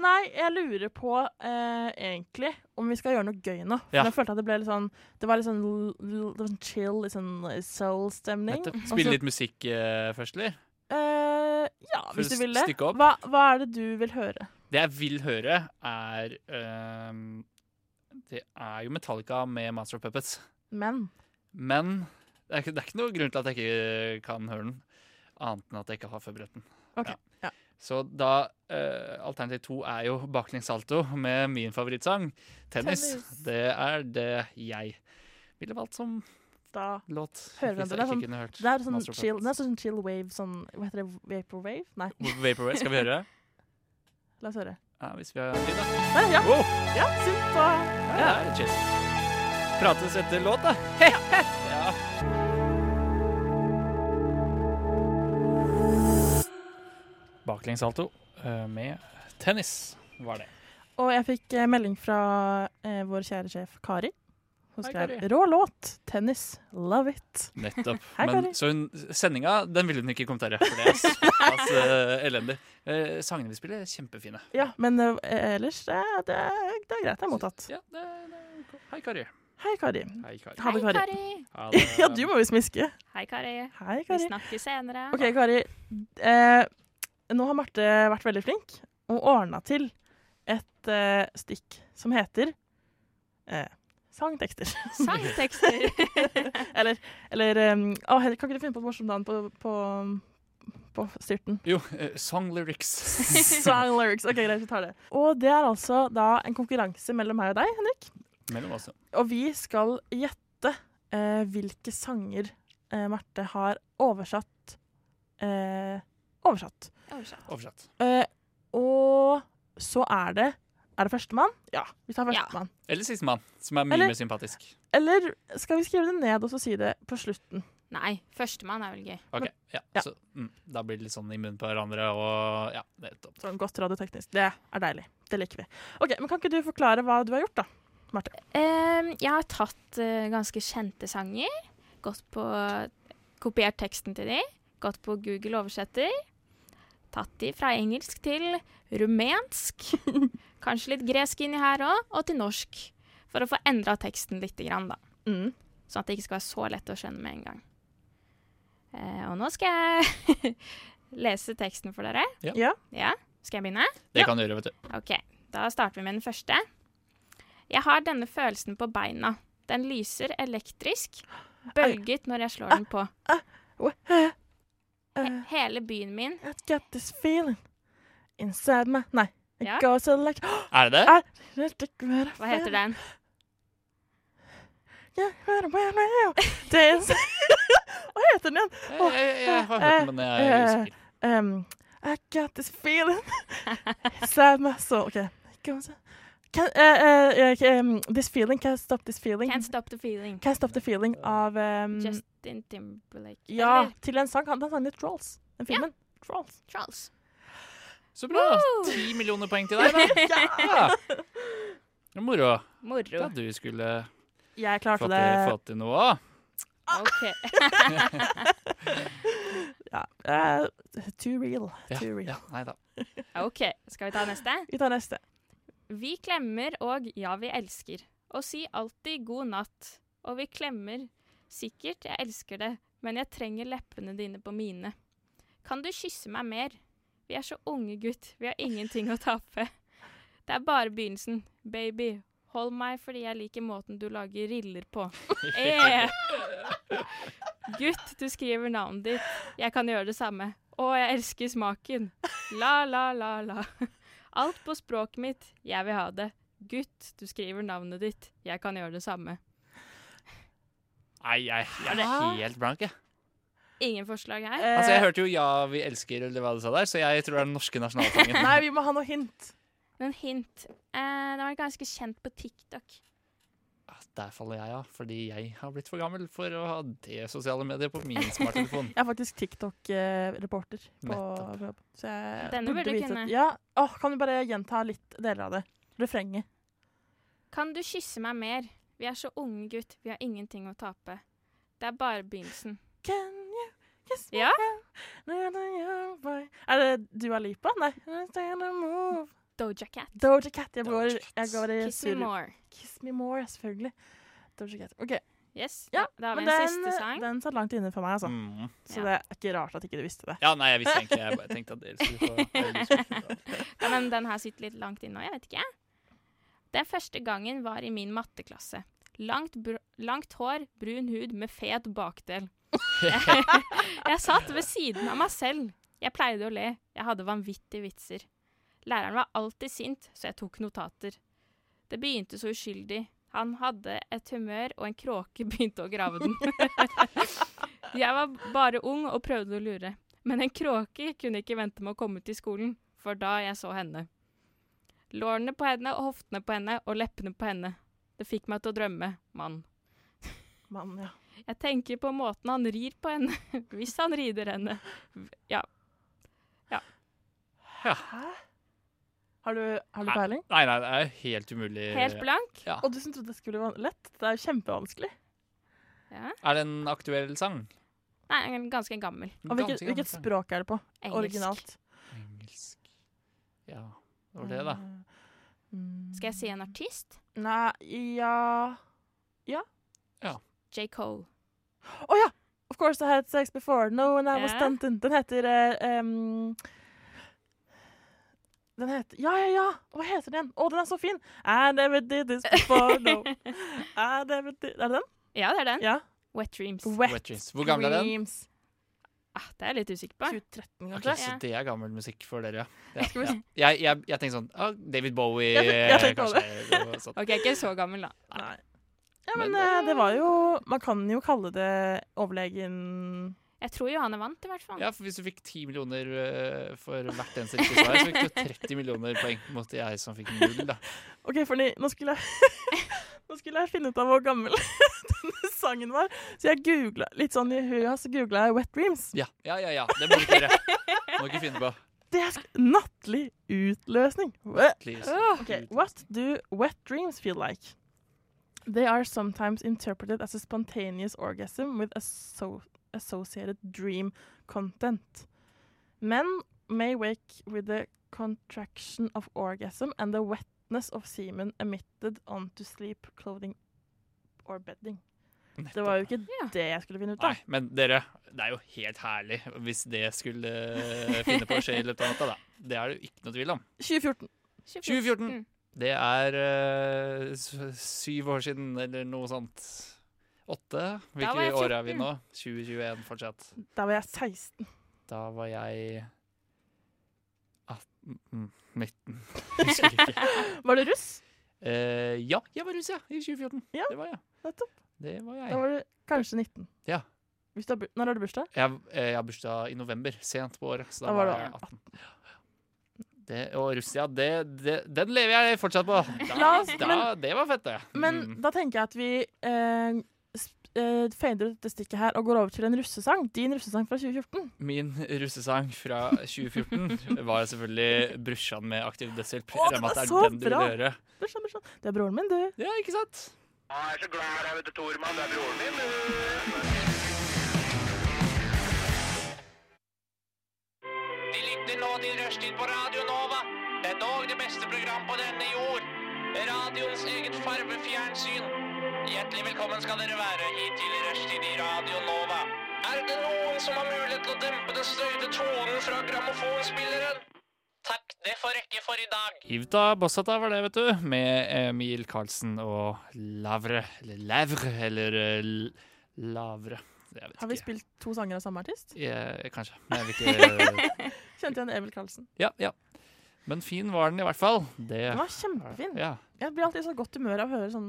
Nei, jeg lurer på eh, egentlig om vi skal gjøre noe gøy nå. For
Ja.
jeg følte at det ble litt sånn Det var litt sånn l- l- litt sånn chill, litt sånn eh, soul-stemning.
Nettopp.
Og så-
Spille litt musikk eh, først, eller?
Eh, ja,
For
hvis
å
du
s-
vil det.
stykke opp.
Hva, hva er det du vil høre?
Det jeg vil høre, er ehm, Det er jo Metallica med Master of Puppets.
Men
Men det er, ikke, det er ikke noe grunn til at jeg ikke kan høre den, annet enn at jeg ikke har forberedt den.
Ok, ja.
Så da eh, Alternativ to er jo baklengs salto med min favorittsang, tennis.
Tennis.
Det er det jeg ville valgt som
da
låt.
Hører
hvis
den,
jeg
den er
ikke kunne hørt
Det er sånn
Master of
chill, det sånn- er
Puppets.
sånn chill wave sånn Hva heter det? Vaporwave? Nei,
Vaporwave, skal vi høre?
la oss høre.
Ja, hvis vi har tid, da.
Nei, ja,
Wow,
ja, synt og
ja, det er chill. prates etter låt, da. ja. Baklengssalto eh, med tennis var det.
Og jeg fikk eh, melding fra eh, vår kjære sjef Kari. Hun
Hei,
skrev
Kari.
'Rå låt. Tennis. Love it'.
Nettopp.
Hei,
Men,
Kari.
så hun, sendinga den ville hun ikke kommentere, for det er såpass eh, elendig. Eh, sangene vi spiller, er kjempefine.
Ja, men eh, ellers det, er- det, er- det er greit. Det er mottatt.
Ja, det, det, er ok. hei, Kari.
Hei, Kari.
Hei, Kari.
Ha det,
Hei,
Kari.
Kari.
Ha det.
Ja, du må jo smiske.
Hei, Kari.
Hei,
Vi
Kari.
snakkes senere.
OK, Kari. Eh, nå har Marte vært veldig flink og ordna til et eh, stikk som heter eh, Sangtekster.
Sangtekster.
eller eller eh, å, Henrik, kan ikke du finne på et morsomt navn på, på, på styrten?
Jo, eh, song lyrics.
Song lyrics. Ok, greit, vi tar det. Og det er altså da en konkurranse mellom meg og deg, Henrik.
Mellom oss.
Og vi skal gjette eh, hvilke sanger eh, Marte har oversatt. Eh, oversatt.
Oversatt.
Oversatt.
Eh, og så er det Er det førstemann? Ja, vi tar
Ja.
førstemann.
Eller sistemann, som er mye
Eller-
mer sympatisk.
Eller skal vi skrive det ned og så si det på slutten?
Nei, førstemann er vel gøy.
Ok, ja,
Ja.
Så, mm, Da blir det litt sånn i munnen på hverandre og ja, nettopp.
Sånn godt radioteknisk. Det er deilig. Det liker vi. Ok, men Kan ikke du forklare hva du har gjort, da?
Ehm, jeg har tatt eh, ganske kjente sanger, gått på, kopiert teksten til de, gått på Google oversetter, tatt de fra engelsk til rumensk, kanskje litt gresk inni her òg, og til norsk. For å få endra teksten lite grann, da.
Mm.
Sånn at det ikke skal være så lett å skjønne med en gang. Eh, og nå skal jeg lese teksten for dere.
Ja.
Ja.
ja. Skal jeg begynne?
Det
Ja.
kan du gjøre, vet du.
Ok, da starter vi med den første. Jeg har denne følelsen på beina. Den lyser elektrisk, bølget når jeg slår den på. He- Hele byen min
I Eh, got this feeling inside my Nei. It
Ja.
goes like
Er det det?
Ah, Hva
Hva heter den?
Days Hva heter den igjen?
Jeg, jeg, jeg har hørt den, men jeg er usikker.
Um, I got this feeling inside my soul. OK. It goes- Can, eh, eh, eh, um, this feeling Can't stop this feeling.
Can't Stop The Feeling.
Can't stop the feeling av um,
Justin Timberlake.
Ja,
Eller
til en sang. Han den sangen heter Trolls. Den filmen. Trolls.
Charles.
Så bra!
eh.
Woo!
Ti millioner poeng til deg, da. Ja. Det er Moro. Da
Moro.
du skulle
Jeg klarte
fått
det.
til, fått til noe.
Ok.
Ja. eh, too real.
Ja,
Too real.
ja, nei da.
Ok, skal vi ta neste?
Vi tar neste.
Vi klemmer og ja, vi elsker. Og si alltid god natt. Og vi klemmer. Sikkert, jeg elsker det, men jeg trenger leppene dine på mine. Kan du kysse meg mer? Vi er så unge, gutt. Vi har ingenting å tape. Det er bare begynnelsen. Baby, hold meg fordi jeg liker måten du lager riller på. Eh. Gutt, du skriver navnet ditt. Jeg kan gjøre det samme. Å, jeg elsker smaken. La, la, la, la. Alt på språket mitt. Jeg vil ha det. Gutt, du skriver navnet ditt. Jeg kan gjøre det samme.
Nei, jeg, jeg er helt blank, jeg.
Ingen forslag her?
Eh,
Altså, jeg hørte jo 'Ja, vi elsker', eller hva du sa der, så jeg tror det er den norske nasjonalsangen.
Nei, vi må ha noe hint.
Noen hint? Eh, den var ganske kjent på TikTok.
Ah, Der faller jeg av, fordi jeg har blitt for gammel for å ha det sosiale mediet på min smarttelefon.
Jeg er faktisk eh, TikTok-reporter. på
Nettopp.
på jobb, Så jeg
Denne burde du
vite
kunne.
at- Ja. Åh, kan du bare gjenta litt deler av det? Refrenget.
Kan du kysse meg mer? Vi er så unge, gutt. Vi har ingenting å tape. Det er bare begynnelsen.
Can you kiss me
Ja.
now? Little young boy. Er det Dua Lipa? Nei. Stand and move.
Doja Cat.
Doja Cat. Jeg går,
Doja Cat.
jeg går i
Kiss me
surr.
more.
Kiss me more, ja, selvfølgelig. Doja Cat. OK.
Yes,
Ja,
da, da har vi
Men
en siste
den,
sang.
den satt langt inne for meg, altså.
Mm.
Så
Ja.
det er ikke rart at ikke du visste det.
Ja, nei, jeg visste egentlig Jeg bare tenkte at dere skulle få
Ja, men den her sitter litt langt inne nå, jeg vet ikke. Den første gangen var i min matteklasse. Langt, br langt hår, brun hud med fet bakdel. Jeg, jeg satt ved siden av meg selv. Jeg pleide å le. Jeg hadde vanvittige vitser. Læreren var alltid sint, så jeg tok notater. Det begynte så uskyldig. Han hadde et humør, og en kråke begynte å grave den. Jeg var bare ung og prøvde å lure. Men en kråke kunne ikke vente med å komme til skolen, for da jeg så henne. Lårene på henne og hoftene på henne og leppene på henne. Det fikk meg til å drømme, mann.
Mann, ja.
Jeg tenker på måten han rir på henne, hvis han rider henne.
Hæ? Har du, har du
Nei.
peiling?
Nei, nei, det er helt umulig.
Helt blank.
Ja.
Og du som trodde det skulle være lett. Det er jo kjempevanskelig.
Ja.
Er det en aktuell sang?
Nei, han er ganske gammel.
Og hvilket,
Ganske gammel
hvilket
sang.
språk er det på?
Engelsk.
Originalt.
Engelsk. Ja, det var det, da.
Mm.
Skal jeg si en artist?
Nei, ja
J. Cole.
Å ja! Of course I had sex before. No, and I was
Ja.
stunted. Den heter eh, em, Den heter Ja, ja, ja! Hva heter den? Å, den er så fin! I never did this before, no. I never did Er det den?
Ja, det er den.
Ja.
Wet Dreams.
Wet,
Wet Dreams. Hvor gammel er den?
Dreams.
Ah, det er jeg litt usikker på.
2013,
Ok,
kanskje?
Så
Ja.
det er gammel musikk for dere, ja. ja,
Skal vi
ja.
se.
Jeg, jeg, jeg tenkte sånn ah, David Bowie eh,
Jeg tenkte- jeg tenkte
kanskje, sånn. og sånt.
OK, ikke så gammel, da.
Nei. Ja, men
Men,
eh, det var jo Man kan jo kalle det overlegen
Jeg tror Johanne vant, i hvert fall.
Ja, for Hvis du fikk 10 millioner eh, for hvert eneste riktige svar, så fikk du 30 millioner poeng mot jeg som fikk null. da.
OK, fordi nå skulle jeg Nå skulle jeg finne ut av hvor gammel denne sangen var, så jeg googla litt sånn i huet, så googla jeg Wet Dreams.
Ja, ja, ja. ja. Det må du ikke gjøre. Må du ikke finne på.
Det er sk nattlig utløsning. Wet.
Please.
Okay, Ah, what do wet dreams feel like? They are sometimes interpreted as a spontaneous orgasm with asso associated dream content. Men may wake with the contraction of orgasm and the wetness of semen emitted onto sleep, clothing or bedding. Det var jo ikke
Ja.
det jeg skulle finne ut
Nei,
av.
men dere, det er jo helt herlig hvis det skulle eh, finne på å skje i løpet av natta, da. Det er det jo ikke noe tvil om.
2014.
24.
2014.
Mm.
Det er eh, s- syv år siden, eller noe sånt. Åtte?
Da var
Hvilke
jeg
år er vi
14.
nå? 2021 fortsatt.
Da var jeg 16.
Da var jeg 18 mm, 19. Husker ikke.
Var du russ?
Eh, ja, jeg var russ, ja. I 2014.
Ja,
det var jeg.
nettopp.
Det var jeg.
Da var du kanskje 19.
Ja.
Hvis du har, bu- når har du bursdag?
Jeg, eh, jeg har bursdag i november, sent på året. Så da,
Da var
var
du
jeg 18. Det, og Russia, det, det, den lever jeg fortsatt på. Da,
La oss-
da, det var fett, det.
Men
Mm.
da tenker jeg at vi eh, sp- eh, fader ut dette stikket her og går over til en russesang. Din russesang fra 2014.
Min russesang fra 2014 var selvfølgelig 'Brusjan med aktiv dødshjelp'.
Å, den
Jeg regner med at
var
det
så
er den du vil
bra!
høre.
Det er sånn, det er sånn. Det er broren min, du.
Ja, ikke sant?
Jeg er så glad i deg, vet du, Tormann. Du er broren min. De lytter nå til Rushtid på Radio Nova. Det er dog det beste program på denne jord. Radioens eget farvefjernsyn. Hjertelig velkommen skal dere være hit til Rushtid i Radio Nova. Er det noen som har mulighet til å dempe den støyte tonen fra grammofonspilleren? Takk, det får rekke for i dag.
Ivta Bossata var det, vet du, med Emil Karlsen og Lavre, eller Lavre, eller eh, L- Lavre. Jeg vet
Har vi
ikke.
spilt to sanger av samme artist?
Eh, kanskje, men jeg vet ikke.
Kjente igjen Emil Karlsen.
ja, ja. Men fin var den i hvert fall. Det
Den var kjempefin.
Ja.
Jeg blir alltid i så godt humør av å høre sånn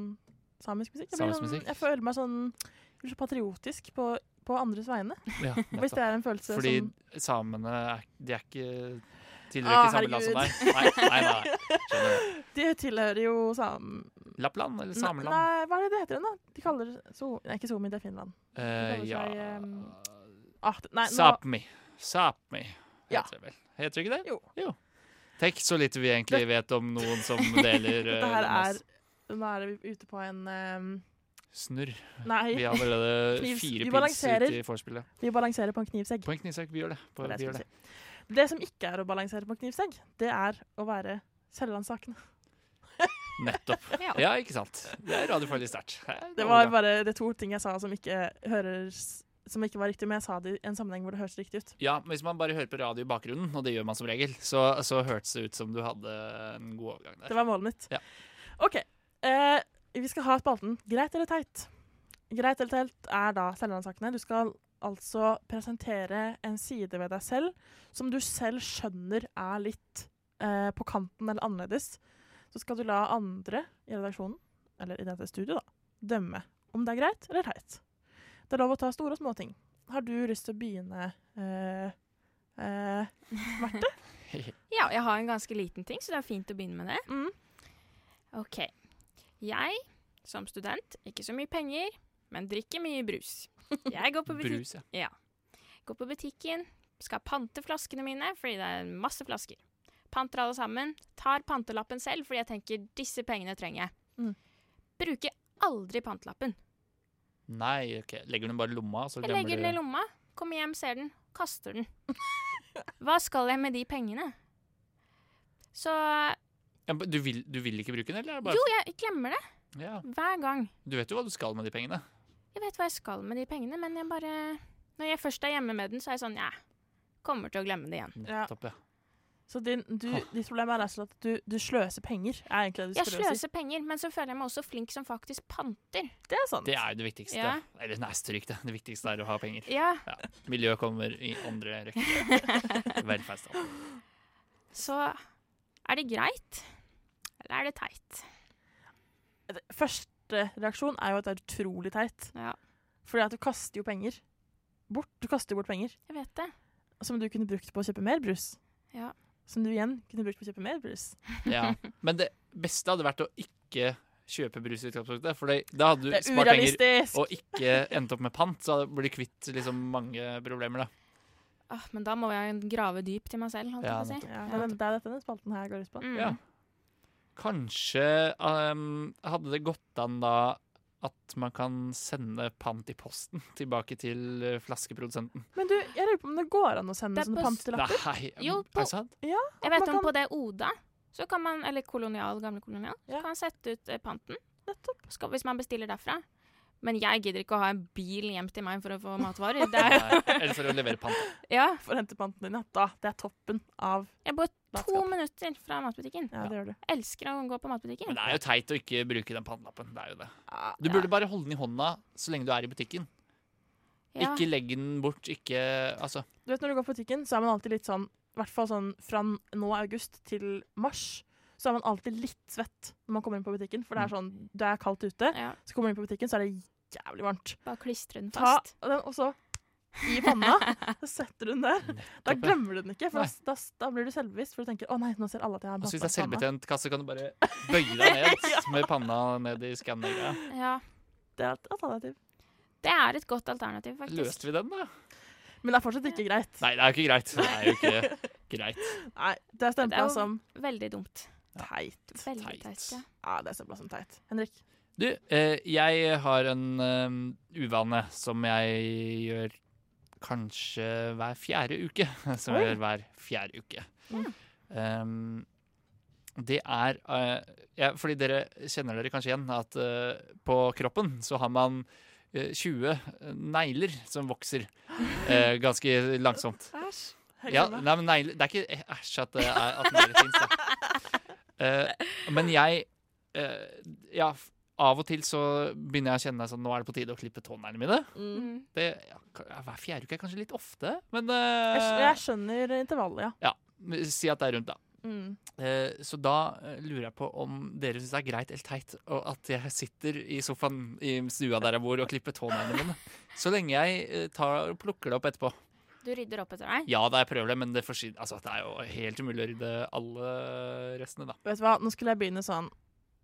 samisk musikk. Jeg, blir
Samisk musikk.
Sånn, jeg føler meg sånn jeg blir så patriotisk på, på andres vegne.
ja
Hvis det
nettopp.
er en følelse
Fordi
som
samene, er, de er ikke tilhører
Ah,
ikke samme land som
herregud.
deg. Nei, nei, nei. nei. Skjønner du.
De tilhører jo sam...
Lappland, eller
Nei,
Sameland?
nei, hva er det det heter igjen, da? De kaller det so... Nei, ikke Somi, det er Finland.
Eh,
kaller
ja
seg, ehm, Ah, det- nei, nå,
Sápmi. Sápmi
Ja.
heter det vel. Heter det ikke det?
jo,
Tenk så lite vi egentlig vet om noen som deler eh,
dette her
landet.
er Nå er vi ute på en ehm,
Snurr.
Nei,
Vi har allerede
Knivs- vi
fire pils
balanserer.
ut i forspillet.
vi balanserer på en knivsegg.
Poeng, Knivsek. Vi gjør det. På,
Det, er det,
vi
jeg
gjør
skulle
det.
si. det som ikke er å balansere på en knivsegg, det er å være Selland-sakene.
Nettopp.
Ja.
Ja, ikke sant. Det er radiofaglig sterkt. Her
Det
går
var
bra.
bare de to ting jeg sa som ikke, hører, s- som ikke var riktig, men jeg sa det i en sammenheng hvor det høres riktig ut.
Ja, men Hvis man bare hører på radio i bakgrunnen, og det gjør man som regel, så, så hørtes det ut som du hadde en god overgang
Det
der.
var målet mitt.
Ja.
OK. Eh, vi skal ha spalten Greit eller teit. Greit eller teit er da Selland-sakene. Du skal altså presentere en side ved deg selv som du selv skjønner er litt eh, på kanten eller annerledes. Så skal du la andre i redaksjonen, eller i dette studioet, da, dømme om det er greit eller teit. Det er lov å ta store og små ting. Har du lyst til å begynne, eh, eh, Marte?
Ja, jeg har en ganske liten ting, så det er fint å begynne med det.
Mm.
OK. Jeg, som student, ikke så mye penger, men drikker mye brus. Jeg går på, butikk,
Brus, ja.
går på butikken, skal pante flaskene mine, fordi det er masse flasker. Panter alle sammen, tar pantelappen selv, fordi jeg tenker disse pengene trenger jeg.
Mm.
Bruker aldri pantelappen.
Nei, ok. Legger du den bare i lomma, så
Jeg
glemmer
legger den i
du
lomma, kommer hjem, ser den, kaster den. Hva skal jeg med de pengene? Så
ja, men du, vil, du vil ikke bruke den, eller? er det Bare...
Jo, jeg glemmer det
Ja.
hver gang.
Du vet jo hva du skal med de pengene.
Jeg vet hva jeg skal med de pengene, men jeg bare Når jeg først er hjemme med den, så er jeg sånn Ja, kommer til å glemme det igjen.
Ja.
Nettopp, ja.
Så din, du, ditt problem er rett og slett at du, du sløser penger. er egentlig det du
Jeg
prøver å si.
sløser penger, men så føler jeg meg også flink som faktisk panter.
Det er sant.
Det er jo det viktigste.
Ja.
Eller nei, stryk det. Det viktigste er å ha penger.
Ja,
Miljø kommer i andre rekke. Velferdsstat.
så er det greit? Eller er det teit?
Første reaksjon er jo at det er utrolig teit.
Ja,
Fordi at du kaster jo penger bort. Du kaster jo bort penger
jeg vet det.
som du kunne brukt på å kjøpe mer brus.
Ja.
Som du igjen kunne brukt på å kjøpe mer brus.
Ja. Men det beste hadde vært å ikke kjøpe brus i utgangspunktet, for det- da hadde
Det
du
er
spart penger
urealistisk!
og ikke endt opp med pant, så hadde- blir du kvitt liksom mange problemer, da.
Åh, men da må jeg grave dypt i meg selv, holdt
Ja,
jeg på å si.
Ja, men det er dette denne spalten her går ut på.
Mm.
Ja. Kanskje ehm, hadde det gått an da at man kan sende pant i posten tilbake til eh, flaskeprodusenten.
Men du, jeg lurer på om det går an å sende
Det er
sånne
på s-
pantelapper?
Nei,
Jo,
er
på-
det sant?
Jeg
man
vet om
kan-
på det Oda, så kan man, eller kolonial, gamle kolonial,
Ja.
så kan man sette ut eh, panten
Nettopp.
skal, hvis man bestiller derfra. Men jeg gidder ikke å ha en bil hjem til meg for å få matvarer. Det er,
Nei, eller for å levere pant.
ja,
For å hente panten din, ja. Da, det er toppen av
jeg bor to
Matskap.
minutter fra matbutikken.
Ja, det gjør du.
Jeg elsker å gå på matbutikken.
Men det er jo teit å ikke bruke den pannelappen. Det er jo det. Du
Ja.
burde bare holde den i hånda så lenge du er i butikken.
Ja.
Ikke legge den bort. Ikke Altså.
Du vet Når du går på butikken, så er man alltid litt sånn I hvert fall sånn fra nå august til mars, så er man alltid litt svett når man kommer inn på butikken. For det er sånn, det er kaldt ute.
Mm. Ja,
Så kommer du inn på butikken, så er det jævlig varmt.
bare klistre den
Ta
fast.
den også i panna, så setter du den der. Da
Nettopp, ja.
glemmer du den ikke, for da, da, da blir du selvbevisst. For du tenker 'Å nei, nå ser alle at jeg har en
Altså, hvis
panna
det er
i panna'.
selvbetjent kasse, kan du bare bøye deg ned med panna ned i skanneringa.
Ja.
Det er et alternativ.
Det er et godt alternativ, faktisk.
Løste vi den, da?
Men det er fortsatt ikke greit.
Nei, det er jo ikke greit. Det er jo ikke greit.
Nei, det er
Det er
stempla
jo-
som
Veldig dumt.
teit.
Veldig
Teit.
teit. Ja.
Ja, det er stempla som teit. Henrik.
Du, eh, jeg har en eh, uvane som jeg gjør kanskje hver fjerde uke. Som jeg gjør hver fjerde uke. Um, det er eh, ja, Fordi dere kjenner dere kanskje igjen at eh, på kroppen så har man eh, 20 negler som vokser eh, ganske langsomt.
Æsj.
Ja, nei, men negler, det er ikke eh, æsj at, det er- at negler fins, da. Eh, men jeg eh, Ja, f- av og til så begynner jeg å kjenne sånn Nå er det på tide å klippe tåneglene mine.
Mm.
Det, ja, ka- ja, hver fjerde uke er kanskje litt ofte, men
Jeg, skj-
eh,
jeg skjønner intervallet, ja.
ja, si at det er rundt, da.
Mm.
Eh, Så da eh, lurer jeg på om dere syns det er greit eller teit og at jeg sitter i sofaen i stua der jeg bor og klipper tåneglene mine. Så lenge jeg eh, tar og plukker det opp etterpå.
Du rydder opp etter deg?
Ja, da jeg prøver det, men det, forsyn- altså, det er jo helt umulig å rydde alle restene, da.
Vet du hva, nå skulle jeg begynne sånn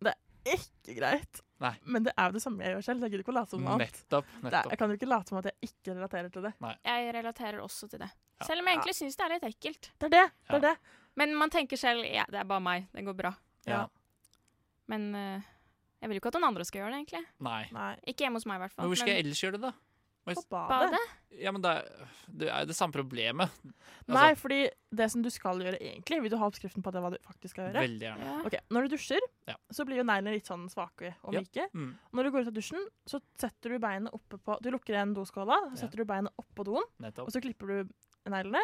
Det er ikke greit,
Nei.
men det er jo det samme jeg gjør selv. Jeg gidder ikke å late som noe annet.
Nettopp.
Det er,
nettopp.
jeg kan jo ikke late som at jeg ikke relaterer til det.
Jeg relaterer også til det.
Ja.
Selv om jeg egentlig syns det er litt ekkelt.
Det er det! det, er
Ja.
det.
Men man tenker selv ja, det er bare meg, det går bra.
Ja.
Men eh, jeg vil jo ikke at noen andre skal gjøre det, egentlig.
Nei.
Nei.
Ikke hjemme hos meg, i hvert fall.
Men hvor skal jeg
men
ellers gjøre det, da?
På badet?
badet?
Ja, men det er, det er jo det samme problemet. Altså,
Nei, fordi det som du skal gjøre egentlig Vil du ha oppskriften på det hva du faktisk skal gjøre?
Veldig gjerne.
Ja.
Ok, Når du dusjer,
Ja.
så blir jo neglene litt sånn svake og
Ja.
myke.
Mm.
Når du går ut av dusjen, så setter du beinet oppe på Du lukker igjen doskåla, så
Ja.
setter du beinet oppå doen, og
Nettopp.
så klipper du neglene.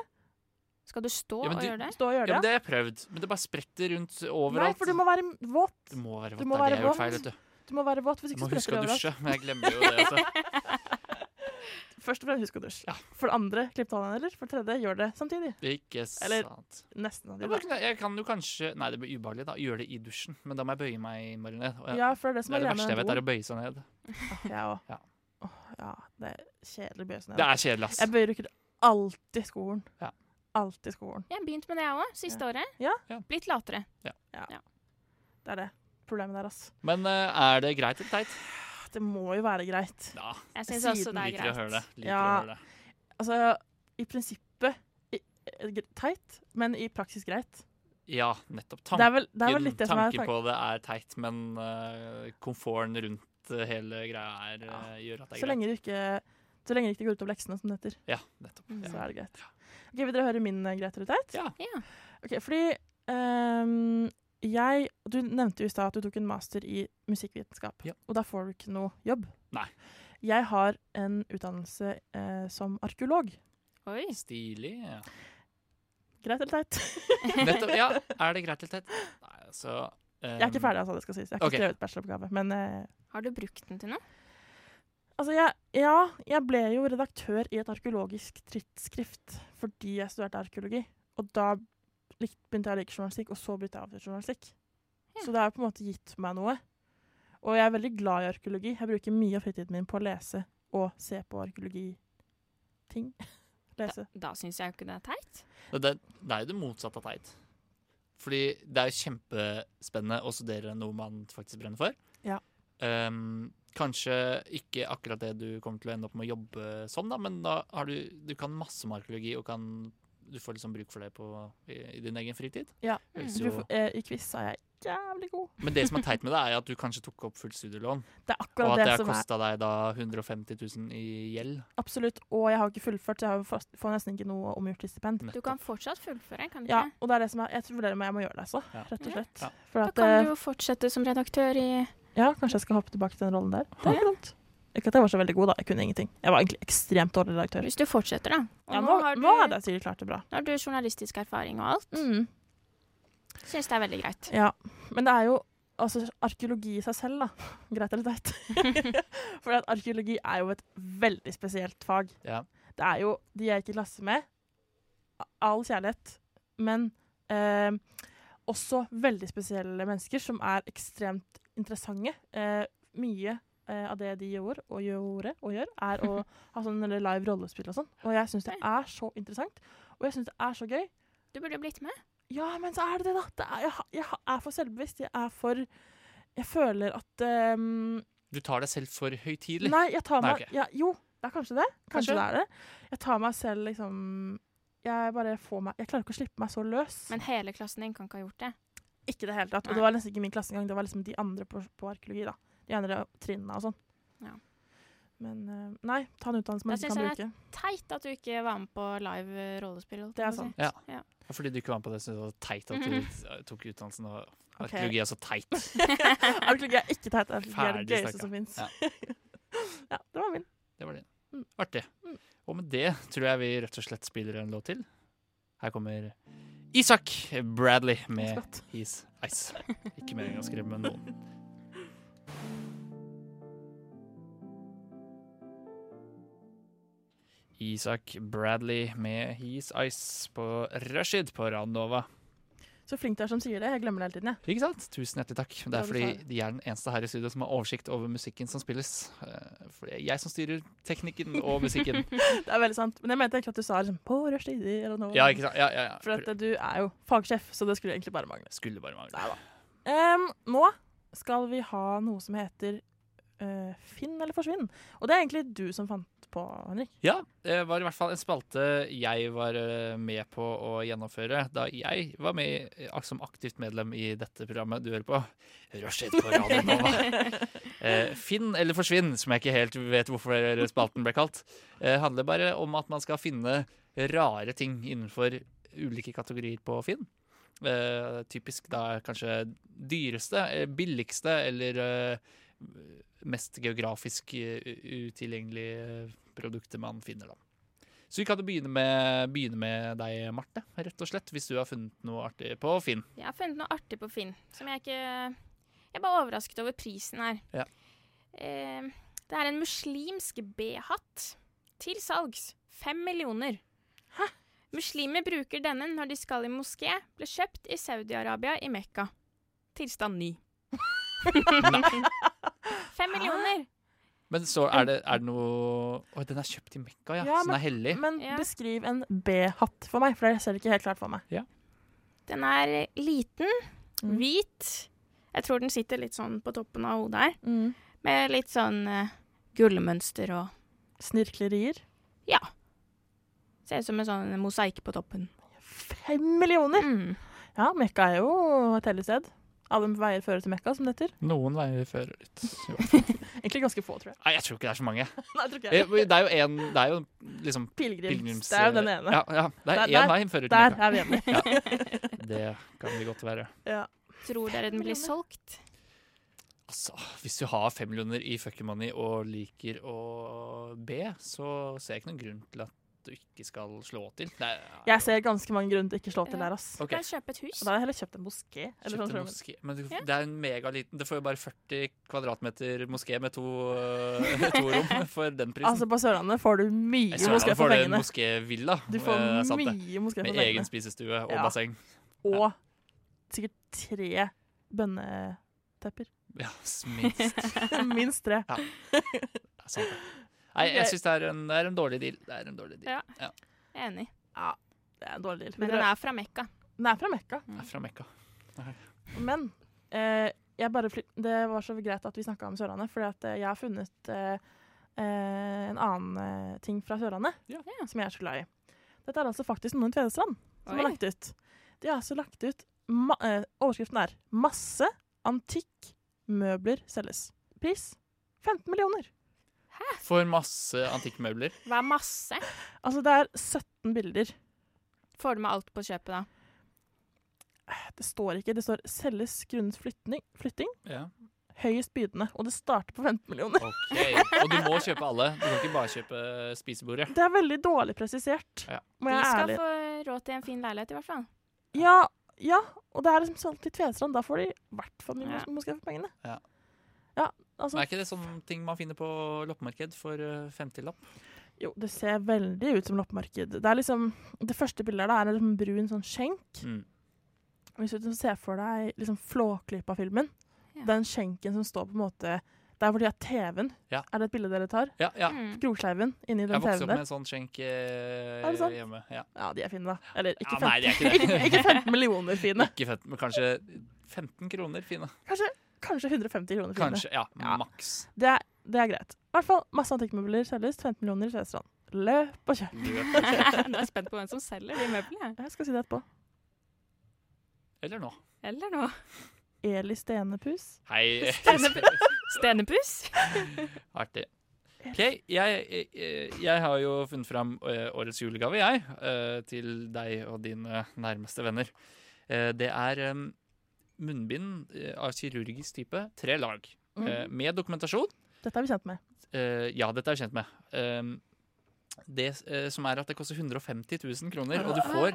Skal du stå
Ja, men
og
du-
gjøre det?
Stå og gjør
Ja,
det.
men det har jeg prøvd, men det bare spretter rundt
Nei,
overalt.
for du må være våt.
Det må være
Du
vått.
må
Det er det
være
jeg har gjort
våt.
feil, vet du.
Du må være våt, hvis
Jeg
ikke
må
så
huske
spretter
å
det overalt.
dusje, men jeg glemmer jo det. Altså.
Først og fremst husk å dusje.
Ja.
For det andre, klipp tallene eller For det tredje, gjør det samtidig.
Ikke
Eller-
sant.
Nesten av
Ja,
de
men
da.
Jeg kan jo kanskje Nei, det blir ubehagelig, da. Gjøre det i dusjen, men da må jeg bøye meg innmari ned. Og jeg,
Ja, for det er det
det
som
er
er
det
greia
verste jeg
med
vet, er
doen.
å bøye seg ned.
Jeg òg.
Ja.
Åh, ja, det er kjedelig å bøye seg
Det
ned.
er kjedelig, ass.
Jeg bøyer ikke alltid skolen.
Ja.
Alltid skolen.
Jeg har begynt med det, jeg òg. Siste året.
Ja.
Ja.
Blitt latere.
Det er det problemet der, ass.
Men eh, er det greit eller teit?
Det må jo være greit.
Ja,
Jeg syns også
Siden
det er
liker å høre det.
greit.
Liker
Ja.
å høre det.
Altså, i prinsippet i, eh, gre- teit, men i praksis greit.
Ja, nettopp.
Det
Tanken,
er vel, det er vel litt det som er
tanken
tanken.
på det er teit, men eh, komforten rundt eh, hele greia er, eh, gjør at det er
Så lenge det ikke, så lenge det ikke går ut over leksene, som det heter,
greit. Ja, nettopp.
Mm.
så er det greit. Ok, Vil dere høre min eh, greit eller teit?
Ja.
Ja.
Ok, fordi ehm, jeg Du nevnte jo i stad at du tok en master i musikkvitenskap.
Ja.
Og da får du ikke noe jobb.
Nei.
Jeg har en utdannelse eh, som arkeolog.
Oi.
Stilig. Ja.
Greit eller teit?
Nettopp, ja. Er det greit eller teit? Nei, altså
Jeg er ikke ferdig, altså. det skal sies. Jeg har ikke
ok.
skrevet bacheloroppgave. Men eh,
Har du brukt den til noe?
altså, jeg, ja, jeg ble jo redaktør i et arkeologisk tidsskrift fordi jeg studerte arkeologi. Og da lik- begynte jeg å like journalistikk, og så begynte jeg å avslutte journalistikk.
Ja.
Så det har på en måte gitt meg noe. Og jeg er veldig glad i arkeologi. Jeg bruker mye av fritiden min på å lese og se på arkeologiting. Lese.
Da syns jeg jo ikke det er teit.
Det, det, det er jo det motsatte av teit. Fordi det er jo kjempespennende å studere noe man faktisk brenner for.
Ja.
Ehm, kanskje ikke akkurat det du kommer til å ende opp med å jobbe som, da, men da har du, du kan masse om arkeologi og kan, du får liksom bruk for det på, i, i din egen fritid.
Ja.
Høres
Så
jo-
du får- eh, I quiz er jeg jævlig god.
Men det som er teit med det, er at du kanskje tok opp fullt studielån,
Det er
og
akkurat
at
det,
det har
som er
kosta deg da 150 000 i gjeld.
absolutt. Og jeg har ikke fullført, så jeg har jo fast- får nesten ikke noe omgjort til stipend.
Du kan fortsatt fullføre, kan du
Ja,
ikke?
og det er det som er Jeg tror vurderer om jeg må gjøre det, altså.
Ja.
Rett og
Ja.
slett.
Ja.
For
Da
at,
kan
eh,
du jo fortsette som redaktør i
ja, kanskje jeg skal hoppe tilbake til den rollen der. Det er ikke dumt. Ikke at jeg var så veldig god, da. Jeg kunne ingenting. Jeg var egentlig ekstremt dårlig redaktør.
Hvis du fortsetter, da. Og
Ja, nå,
nå, har du, Mm.
nå hadde jeg sikkert klart det bra.
nå har du journalistisk erfaring og alt. Syns det er veldig greit.
Mm. Ja. Men det er jo altså, arkeologi i seg selv, da. Greit eller teit. For at arkeologi er jo et veldig spesielt fag.
Ja.
Det er jo de jeg gikk i klasse med. a- All kjærlighet. Men eh, også veldig spesielle mennesker som er ekstremt interessante. Eh, mye eh, av det de gjorde og, gjorde og gjør, er å ha sånn eller live rollespill og sånn. Og jeg syns det er så interessant. Og jeg syns det er så gøy.
Du burde jo blitt med.
Ja, men så er det det, da. Det er, jeg, ha- jeg ha- er for selvbevisst. Jeg er for Jeg føler at ehm,
Du tar deg selv for høytidelig.
Nei, jeg tar
Nei,
meg
ok.
ja, Jo, det er kanskje det. Kanskje,
Kanskje.
det er det. Jeg tar meg selv liksom Jeg bare får meg Jeg klarer ikke å slippe meg så løs.
Men hele klassen din kan ikke ha gjort det.
ikke i det hele tatt. Og
Nei.
det var nesten ikke min klasse engang. Det var liksom de andre på, på arkeologi, da. De andre trinnene og sånn.
Ja.
Men eh, nei, ta en utdannelse man
Jeg
ikke kan
synes
bruke.
Teit at du ikke var med på live eh, rollespill. holdt
Det er
jeg på å si.
sant.
Ja.
Ja.
Fordi du ikke var med på det, så det var teit at du eh, tok utdannelsen. Og arkeologi er så teit.
Arkeologi er ikke teit. Arkeologi er
Ferdig
det
snakka.
gøyeste som fins.
Ja.
ja, det var min.
Det var det.
Mm.
Artig.
Mm.
Og med det tror jeg vi rett og slett spiller en låt til. Her kommer Isak Bradley med
Godt.
His Ice. Ikke meningen å skremme noen. Isak Bradley med His Ice på Rashid på Radnova.
Så flink du er som sier det. Jeg glemmer det hele tiden, jeg.
Ikke sant? Tusen hjertelig takk. Det
Bra du
er fordi
sa
de er den eneste her i studio som har oversikt over musikken som spilles. Eh, For det er jeg som styrer teknikken og musikken.
Det er veldig sant. Men jeg mente egentlig at du sa liksom, på rushtid eller noe.
Ja, ikke sant? Ja, ja, ja.
For at du er jo fagsjef, så det skulle egentlig bare mangle.
Skulle bare mangle.
Nei da. Em, nå skal vi ha noe som heter eh, Finn eller forsvinn. Og det er egentlig du som fant på, Henrik.
Ja, det var i hvert fall en spalte jeg var eh, med på å gjennomføre da jeg var med eh, som aktivt medlem i dette programmet du hører på. Rushet på radio Nova. Eh, Finn eller forsvinn, som jeg ikke helt vet hvorfor spalten ble kalt, eh, handler bare om at man skal finne rare ting innenfor ulike kategorier på Finn. Eh, typisk da kanskje dyreste, eh, billigste eller eh, mest geografisk eh, u- utilgjengelige eh, produktet man finner, da. Så vi kan jo begynne med, begynne med deg, Marte, rett og slett, hvis du har funnet noe artig på Finn.
Jeg har funnet noe artig på Finn som jeg ikke Jeg er bare overrasket over prisen her.
Ja.
Eh, det er en muslimsk B-hatt til salgs. Fem millioner. Muslimer bruker denne når de skal i moské. Ble kjøpt i Saudi-Arabia i Mekka. Tilstand ny. Fem millioner!
Men så er det, er det noe Å, den er kjøpt i Mekka, ja.
Ja,
så den er hellig.
Men
Ja.
beskriv en B-hatt for meg, for jeg ser det ikke helt klart for meg.
Den er eh, liten,
Mm.
hvit. Jeg tror den sitter litt sånn på toppen av hodet her. Med litt sånn eh, gullmønster og
Snirklerier.
Ja. Ser ut som en sånn mosaikk på toppen.
Fem millioner!
Mm.
Ja, Mekka er jo et hellig sted. Alle veier fører til Mekka, som det heter.
Noen veier fører litt. Jo.
Egentlig ganske få, tror jeg.
Nei, jeg tror ikke det er så mange.
Nei, tror ikke
Eh,
jeg.
men Det er jo en Det er jo liksom
Pilegrims.
pilegrims... eh,
Det er jo den ene.
Ja, ja, det
Der-
er én vei fører til
Der
Mekka.
er vi enige.
Det kan vi godt være.
Ja.
Tror dere den blir solgt?
Altså, hvis du har fem millioner i fucking money og liker å be, så ser jeg ikke noen grunn til at du ikke skal slå til. Det er,
Jeg ser ganske mange grunner til ikke å slå til der, ass.
Ok.
Kan jeg kjøpe et hus?
Og da har jeg heller kjøpt en moské. Eller
Kjøpte
sånn, tror jeg.
moské. Men du, det er en megaliten Det får jo bare 40 kvadratmeter moské med to, øh, to rom for den prisen.
altså, på Sørlandet får du mye
I Sørlandet
moské
får
for
du en
pengene.
moskévilla.
Du får
eh, sant det.
mye moské for
Med
pengene.
egen spisestue og
Ja.
basseng.
Og sikkert tre bønnetepper.
Ja, minst. Det
Minst tre.
er sant det. Nei, jeg syns det, er en- det er en dårlig deal. Det er en dårlig deal.
Ja. Jeg er enig.
Det Mm. er en dårlig deal.
Men den er fra Mekka.
Den er fra Mekka.
Det er fra Mekka.
Men eh, jeg bare flyt, det var så greit at vi snakka om Sørlandet, fordi at eh, jeg har funnet eh, eh, en annen eh, ting fra Sørlandet
Ja.
som jeg er så glad i. Dette er altså faktisk noen i Tvedestrand som har
Oi.
lagt ut. De har altså lagt ut ma eh, Overskriften er 'Masse antikk møbler selges'. Pris 15 millioner.
For masse antikkmøbler.
Hva er masse?
Altså det er 17 bilder.
Får du med alt på kjøpet, da?
Eh, Det står ikke. Det står 'selges grunnet flytning, flytting'.
Ja.
Høyest bydende. Og det starter på 15 millioner.
Ok. Og du må kjøpe alle. Du kan ikke bare kjøpe spisebordet.
Det er veldig dårlig presisert.
Ja.
Må
De
jeg
skal
ærlig
få råd til en fin leilighet, i hvert fall.
Ja, ja, og det er liksom solgt i Tvedestrand. Da får de i hvert fall mye
Ja.
mos- moské for pengene.
Ja.
Ja, altså,
Men er ikke det sånne ting man finner på loppemarked for øh, 50-lapp?
jo, det ser veldig ut som loppemarked. Det er liksom, det første bildet der da, er en liksom brun sånn skjenk.
Mm.
Hvis du ser for deg liksom Flåklypa-filmen,
Ja.
den skjenken som står på en måte der hvor de har TV-en,
Ja.
er det et bilde dere tar?
Ja, ja.
Mm.
Krokskeiven inni den
Jeg
TV-en
vokste opp med
der.
en sånn skjenk
Er det sant?
eh, hjemme. Ja.
Ja, de er fine, da. Eller ikke
Ja, nei,
15,
de er ikke det.
ikke 15 millioner fine.
Ikke 15, men kanskje 15 kroner fine.
Kanskje, kanskje 150 kroner fine.
Kanskje, ja,
Ja.
maks.
Det er, det er greit. I hvert fall masse antikkmøbler selges. 15 millioner i Tvedestrand. Løp og kjøp.
Løp.
Nå er jeg spent på hvem som selger de møblene.
Jeg skal si det etterpå.
Eller nå.
Eller noe.
Eli Stenepus.
Hei.
Stenepus.
Artig. OK, jeg, jeg, jeg har jo funnet fram eh, årets julegave, jeg, eh, til deg og dine nærmeste venner. Eh, Det er eh, munnbind eh, av kirurgisk type, tre lag,
Mm.
eh, med dokumentasjon.
Dette er vi kjent med.
Eh, ja, dette er jeg kjent med. Ehm, det eh, som er at det koster 150 000 kroner, og du får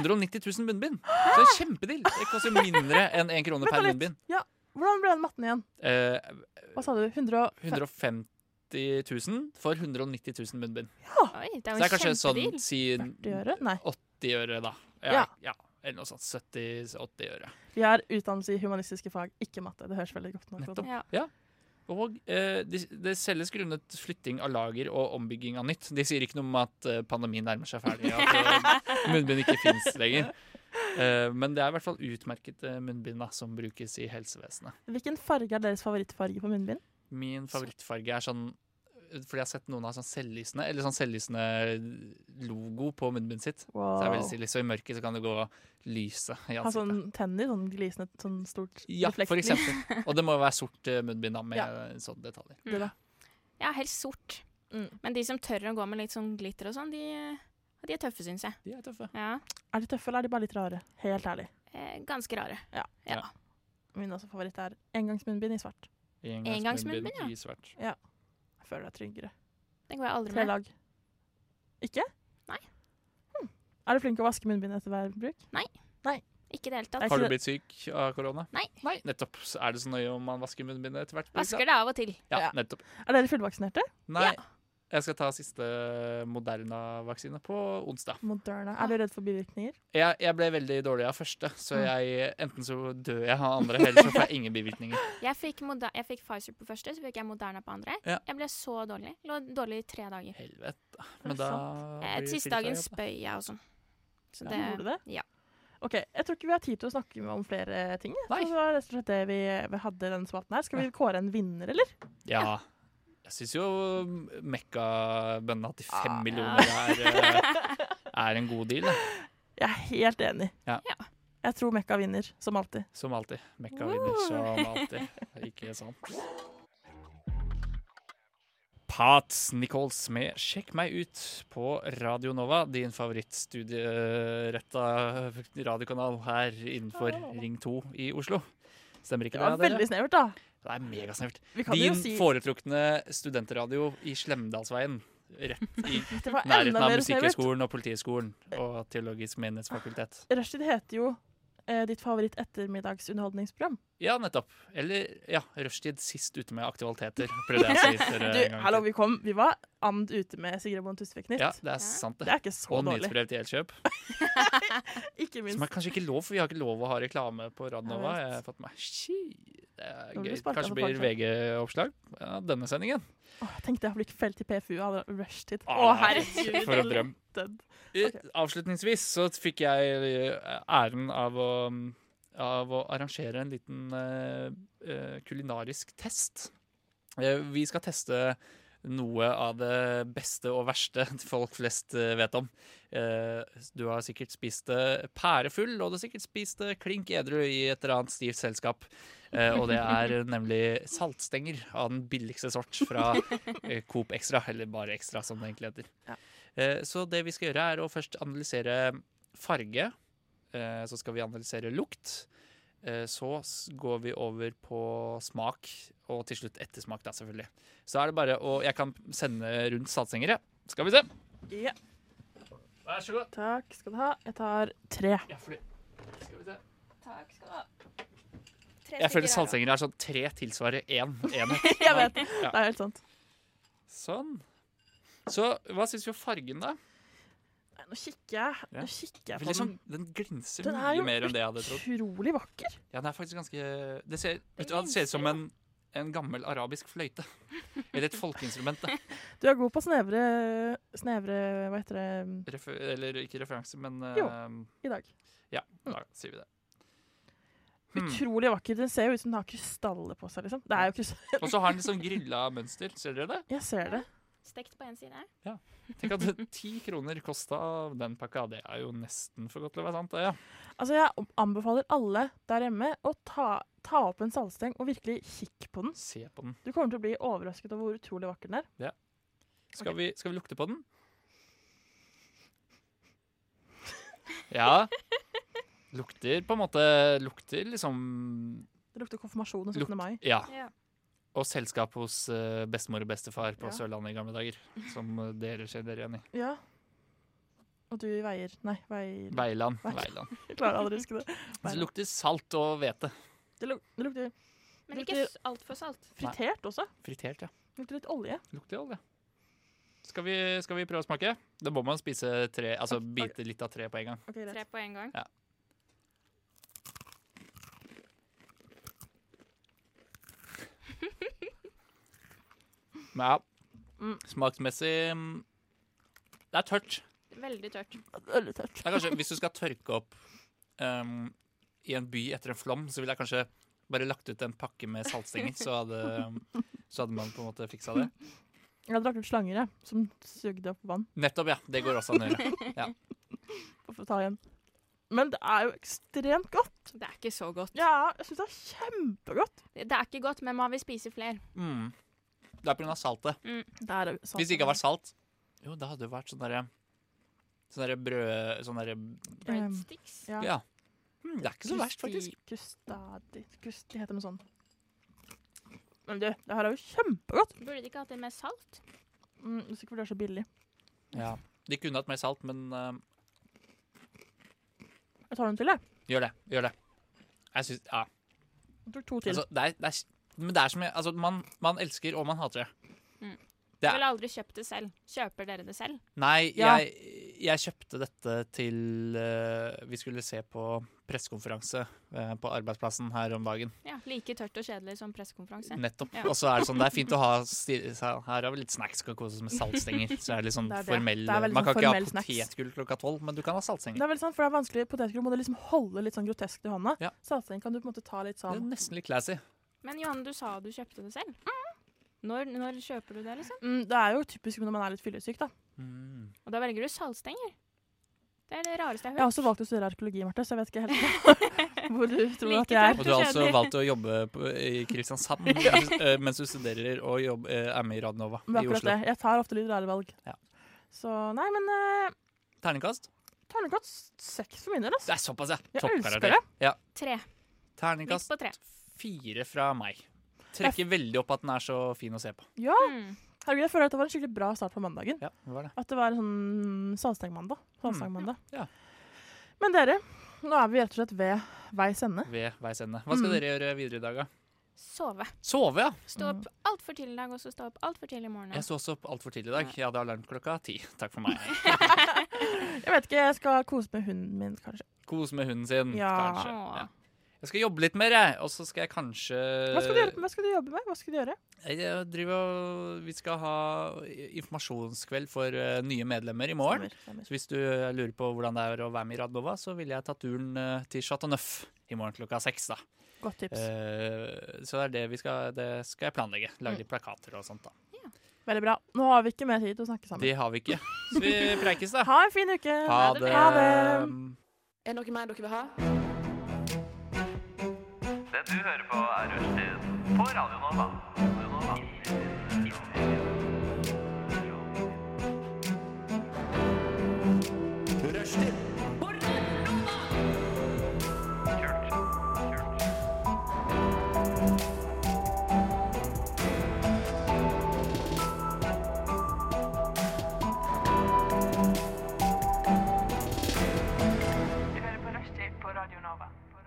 190 000 munnbind. Så det er kjempedeal. Det koster mindre enn én krone
Vent
per
da litt.
munnbind.
Ja, Hvordan ble den matten igjen?
Eh,
Hva sa du? 150
150 000 for 190 000 munnbind.
Oi,
Så det
det er jo
er
en
kanskje
kjempedeal.
sånn si
øre? Nei.
80 øre, da.
Ja.
Ja, ja. Eller noe sånt. 70-80 øre.
Vi har utdannelse i humanistiske fag, ikke matte. Det høres veldig godt ut.
Nettopp.
Ja.
Ja. Og eh, de- det selges grunnet flytting av lager og ombygging av nytt. De sier ikke noe om at eh, pandemien nærmer seg ferdig, at eh, munnbind ikke fins lenger. Eh, men det er i hvert fall utmerket eh, munnbind da, som brukes i helsevesenet.
Hvilken farge er deres favorittfarge på munnbind?
Min favorittfarge er sånn fordi jeg har sett noen ha sånn selvlysende Eller sånn selvlysende logo på munnbindet sitt. Så det er veldig stilig. Så liksom i mørket så kan det gå lyset i
Ha
ansiktet.
sånn tenner, sånn glisende, sånn stort
ja, for
reflekslys.
eksempel. Og det må jo være sort eh, munnbind da, med sånne detaljer.
Det da.
Ja, helst sort.
Mm.
Men de som tør å gå med litt sånn glitter og sånn, de, de er tøffe, syns jeg.
De er tøffe.
Ja,
Er de tøffe, eller er de bare litt rare? Helt ærlig.
eh, Ganske rare.
Min også favoritt er engangsmunnbind i svart.
Engangsmunnbind, ja.
i svart.
Jeg føler det er tryggere.
Den går jeg aldri
Tre
med.
lag. Ikke?
Nei.
Hm. Er du flink til å vaske munnbind etter hver bruk?
Ikke i det
Det
hele tatt.
er
Har
ikke
du
det-
blitt syk av korona?
Nei.
Nettopp. Så er det så nøye om man vasker munnbindet etter hvert?
Vasker det av og til.
Ja,
Ja.
nettopp.
Er dere fullvaksinerte?
Nei,
Ja.
jeg skal ta siste Moderna-vaksine på onsdag.
Moderna. Er du redd for bivirkninger?
Jeg, jeg ble veldig dårlig av første, så
Mm.
jeg, enten så dør jeg av andre, eller så får jeg ingen bivirkninger.
Jeg fikk, moder jeg fikk Pfizer på første, så fikk jeg Moderna på andre.
Ja.
Jeg ble så dårlig. Lå dårlig i tre dager.
Helvete. Men da
Eh,
blir det
Siste
fylt av
dagen
jobb, da.
spøy jeg og sånn. Så
Gjorde du det?
ja.
Ok, Jeg tror ikke vi har tid til å snakke om flere ting. jeg.
Nei.
Så det var rett og slett det vi, vi hadde i denne spalten her. Skal vi kåre en vinner, eller?
Ja. Jeg syns jo Mekka-bønna til fem
Ah.
millioner er, eh, er en god deal, da.
Jeg er helt enig.
Ja.
Jeg tror Mekka vinner, som alltid.
som alltid. Mekka vinner som alltid. Ikke sant? Pats Nichols med 'Sjekk meg ut' på Radio Nova, din favorittstudieretta radiokanal her innenfor Ring 2 i Oslo. Stemmer
Det
ikke det?
var
dere?
Ah. veldig snevert, da.
Det er megasnevert.
Vi kan jo
Din
si
foretrukne studentradio i Slemdalsveien. Rett i
det var
nærheten
enda
av
mer snevert.
Musikkhøgskolen og Politihøgskolen og Teologisk menighetsfakultet.
Rushtid heter jo eh, ditt favoritt ettermiddagsunderholdningsprogram.
Ja, nettopp. Eller ja, rushtid sist ute med aktualiteter. Prøvde jeg å si til dere
Du,
en gang
hallo,
til.
vi kom. Vi var and ute med Sigrid Bonde Tusvik Nytt.
Ja, det er sant,
Det
det.
er ikke så
Og
dårlig.
nyhetsbrev til Elkjøp.
Ikke
Som er
minst.
kanskje ikke lov, for vi har ikke lov å ha reklame på Radnova.
Jeg
Jeg
vet.
har fått meg Ski. Det er
Da blir
gøy.
du sparket
Kanskje
for
blir
folk,
VG-oppslag ja, denne sendingen.
Åh, tenk det, å bli felt i PFU av rushtid. Å,
Ah,
herregud.
For en drøm.
Den-
Eh, Avslutningsvis så fikk jeg eh, æren av å, mm, av å arrangere en liten eh, eh, kulinarisk test. Eh, vi skal teste noe av det beste og verste folk flest eh, vet om. Eh, du har sikkert spist det pærefull, og du har sikkert spist det klink edru i et eller annet stivt selskap. Eh, og det er nemlig saltstenger av den billigste sort fra eh, Coop Extra, eller bare Extra, som det egentlig heter. Eh, Så det vi skal gjøre er å først analysere farge, eh, så skal vi analysere lukt, eh, så s- går vi over på smak, og til slutt ettersmak da, selvfølgelig. Så er det bare å, jeg kan sende rundt saltsengere. Skal vi se.
Ja,
Vær så god.
takk skal du ha. Jeg tar tre.
Ja, fordi- skal vi se.
Takk skal du ha.
Jeg føler saltsengere er sånn tre tilsvarer én enhet.
Jeg vet.
Ja.
Det er helt sant.
Sånn. Så hva syns vi om fargen, da?
Nei, nå kikker jeg.
Ja.
Nå kikker jeg på
Veldig
den.
sånn, den glinser
Den er jo
mye mer enn det jeg hadde trodd.
utrolig vakker.
Ja, den er faktisk ganske Det ser, vet du, hva, det ser ut som en, en gammel arabisk fløyte. Eller et folkeinstrument. da.
Du er god på snevre, snevre hva heter det,
Refer, eller ikke referanse, men
Jo.
eh,
i dag.
Ja, da sier vi det. Hmm.
Utrolig vakker. Den ser jo ut som den har krystaller på seg. liksom. Det er jo krystaller.
Og så har den litt sånn grilla mønster. Ser dere det?
Jeg ser det.
Stekt på én side.
Tenk at ti kroner kosta den pakka. Det er jo nesten for godt til å være sant, det. ja.
Altså, Jeg anbefaler alle der hjemme å ta, ta opp en saltsteng og virkelig kikke på den.
Se på den.
Du kommer til å bli overrasket over hvor utrolig vakker den er.
Skal vi, skal vi lukte på den? Ja. Lukter på en måte Lukter liksom
Det lukter konfirmasjon og 17.
Lukt.
mai.
Ja.
Ja.
Og selskap hos eh, bestemor og bestefar på
Ja.
Sørlandet i gamle dager. Som eh, dere kjenner igjen i.
Ja. Og du veier Nei, veier
Veiland.
Veiland.
Veiland.
Jeg klarer aldri å huske det.
Det
Veiland.
lukter salt og hvete.
Det, luk det lukter
Men
Det
ikke
lukter-
s- altfor salt.
fritert også.
Fritert, ja.
Det lukter litt olje.
Lukter olje. Skal vi, skal vi prøve å smake? Da må man spise tre, altså bite litt av tre på en gang.
Ok, greit.
Tre på en gang.
Men ja,
Mm.
smaksmessig mm, Det er tørt.
Veldig tørt.
Det er litt tørt.
Det er kanskje, hvis du skal tørke opp em, i en by etter en flom, så ville jeg kanskje bare lagt ut en pakke med saltstenger, så hadde, så hadde man på en måte fiksa det.
Jeg drakk ut slanger jeg, som sugde opp vann.
Nettopp, ja. Det går også an å gjøre.
Bare for å ta igjen. Men det er jo ekstremt godt.
Det er ikke så godt.
Ja, jeg syns det er kjempegodt.
Det er ikke godt, men man vil spise flere.
Mm. Det er pga. saltet.
Det er jo sant.
Hvis det ikke hadde vært salt Jo, det hadde jo vært sånn derre Sånn derre brød Sånn derre
Breadsticks.
ja.
Ja. Mm, det er ikke så verst, faktisk.
Krustadi Krusti heter noe sånt. Men du, det her er jo kjempegodt.
Burde de ikke hatt det med salt?
Mm, hvis ikke fordi det er så billig.
Ja. De kunne hatt mer salt, men eh,
Jeg tar en til, jeg.
gjør det. Gjør det. Jeg syns Ja.
Jeg tok to til.
Altså, det er, det er, men det er som jeg- Altså, man, man elsker, og man hater det.
Mm.
Det
Jeg
er
ville aldri kjøpt det selv. Kjøper dere det selv?
Nei,
Ja.
jeg, jeg kjøpte dette til eh, Vi skulle se på pressekonferanse eh, på arbeidsplassen her om dagen.
Ja, Like tørt og kjedelig som pressekonferanse.
Nettopp.
Ja.
Og så er det sånn, det er fint å ha sti så Her har vi litt snacks og kose oss med saltstenger. Så er det litt sånn
Det er det.
formell
Det er veldig
Man kan
sånn
ikke ha
formell snacks.
potetgull klokka tolv, men du kan ha
Det
saltstenger.
er veldig sant, for det er vanskelig Potetgull må du liksom holde litt sånn groteskt i hånda.
Ja.
Saltstenger kan du på en måte ta litt
Det er
sånn
nesten litt classy.
Men Johanne, du sa du kjøpte det selv. Når, når kjøper du det, liksom?
mm, Det er jo typisk når man er litt fyllesyk, da.
Mm.
Og da velger du saltstenger. Det er det rareste jeg
Jeg har
har hørt.
også valgt å studere arkeologi, Marte, så jeg vet ikke helt hvor du tror
Like
at jeg er.
Og du har altså
Kjedelig.
valgt å jobbe på, i Kristiansand eh, mens du studerer og jobb, eh, er med i Radionova
Men
i
akkurat
Oslo.
det. Jeg tar ofte litt rare valg.
Ja.
Så nei, men uh,
Terningkast?
terningkast seks for min del,
Det
altså.
er såpass, ja.
Jeg
Toppkarakter.
elsker det.
Ja.
Tre. Midt
Terningkast
på tre.
fire fra meg. Trekker veldig opp at den er så fin å se på.
Ja,
Mm.
herregud, jeg føler at det var en skikkelig bra start på mandagen.
Ja, det var det.
At det var en sånn saltstengmandag. Saltstengmandag.
Mm, Ja.
Men dere, nå er vi rett og slett ved veis ende.
Ved veis ende. Hva
Mm.
skal dere gjøre videre i dag, da?
Sove.
Sove, ja.
Stå opp altfor tidlig i dag, og så stå opp altfor tidlig i morgen.
Jeg så også opp altfor tidlig i dag. Jeg hadde alarm klokka ti. Takk for meg.
Jeg vet ikke, jeg skal kose med hunden min, kanskje.
Kos med hunden sin,
Ja.
kanskje.
Åh.
Ja. Jeg skal jobbe litt mer, jeg. Og så skal jeg kanskje
Hva skal du gjøre, hva skal du jobbe med? Hva skal du gjøre?
Jeg jeg driver og Vi skal ha informasjonskveld for eh, nye medlemmer i morgen.
Stemmer, stemmer.
Så hvis du eh, lurer på hvordan det er å være med i Radnova, så ville jeg tatt turen eh, til Chateau Neuf i morgen klokka seks. da.
Godt tips.
Eh, Så det er det vi skal, det skal jeg planlegge.
Mm.
Lage litt plakater og sånt. da.
Veldig bra. Nå har vi ikke mer tid til å snakke sammen.
Det har vi ikke. Så vi preikes, da.
Ha en fin uke! Ha det.
Er det noe mer dere vil ha?
Det du hører på er Rushtid på Radio Nova. Radio Nova. Rushtid.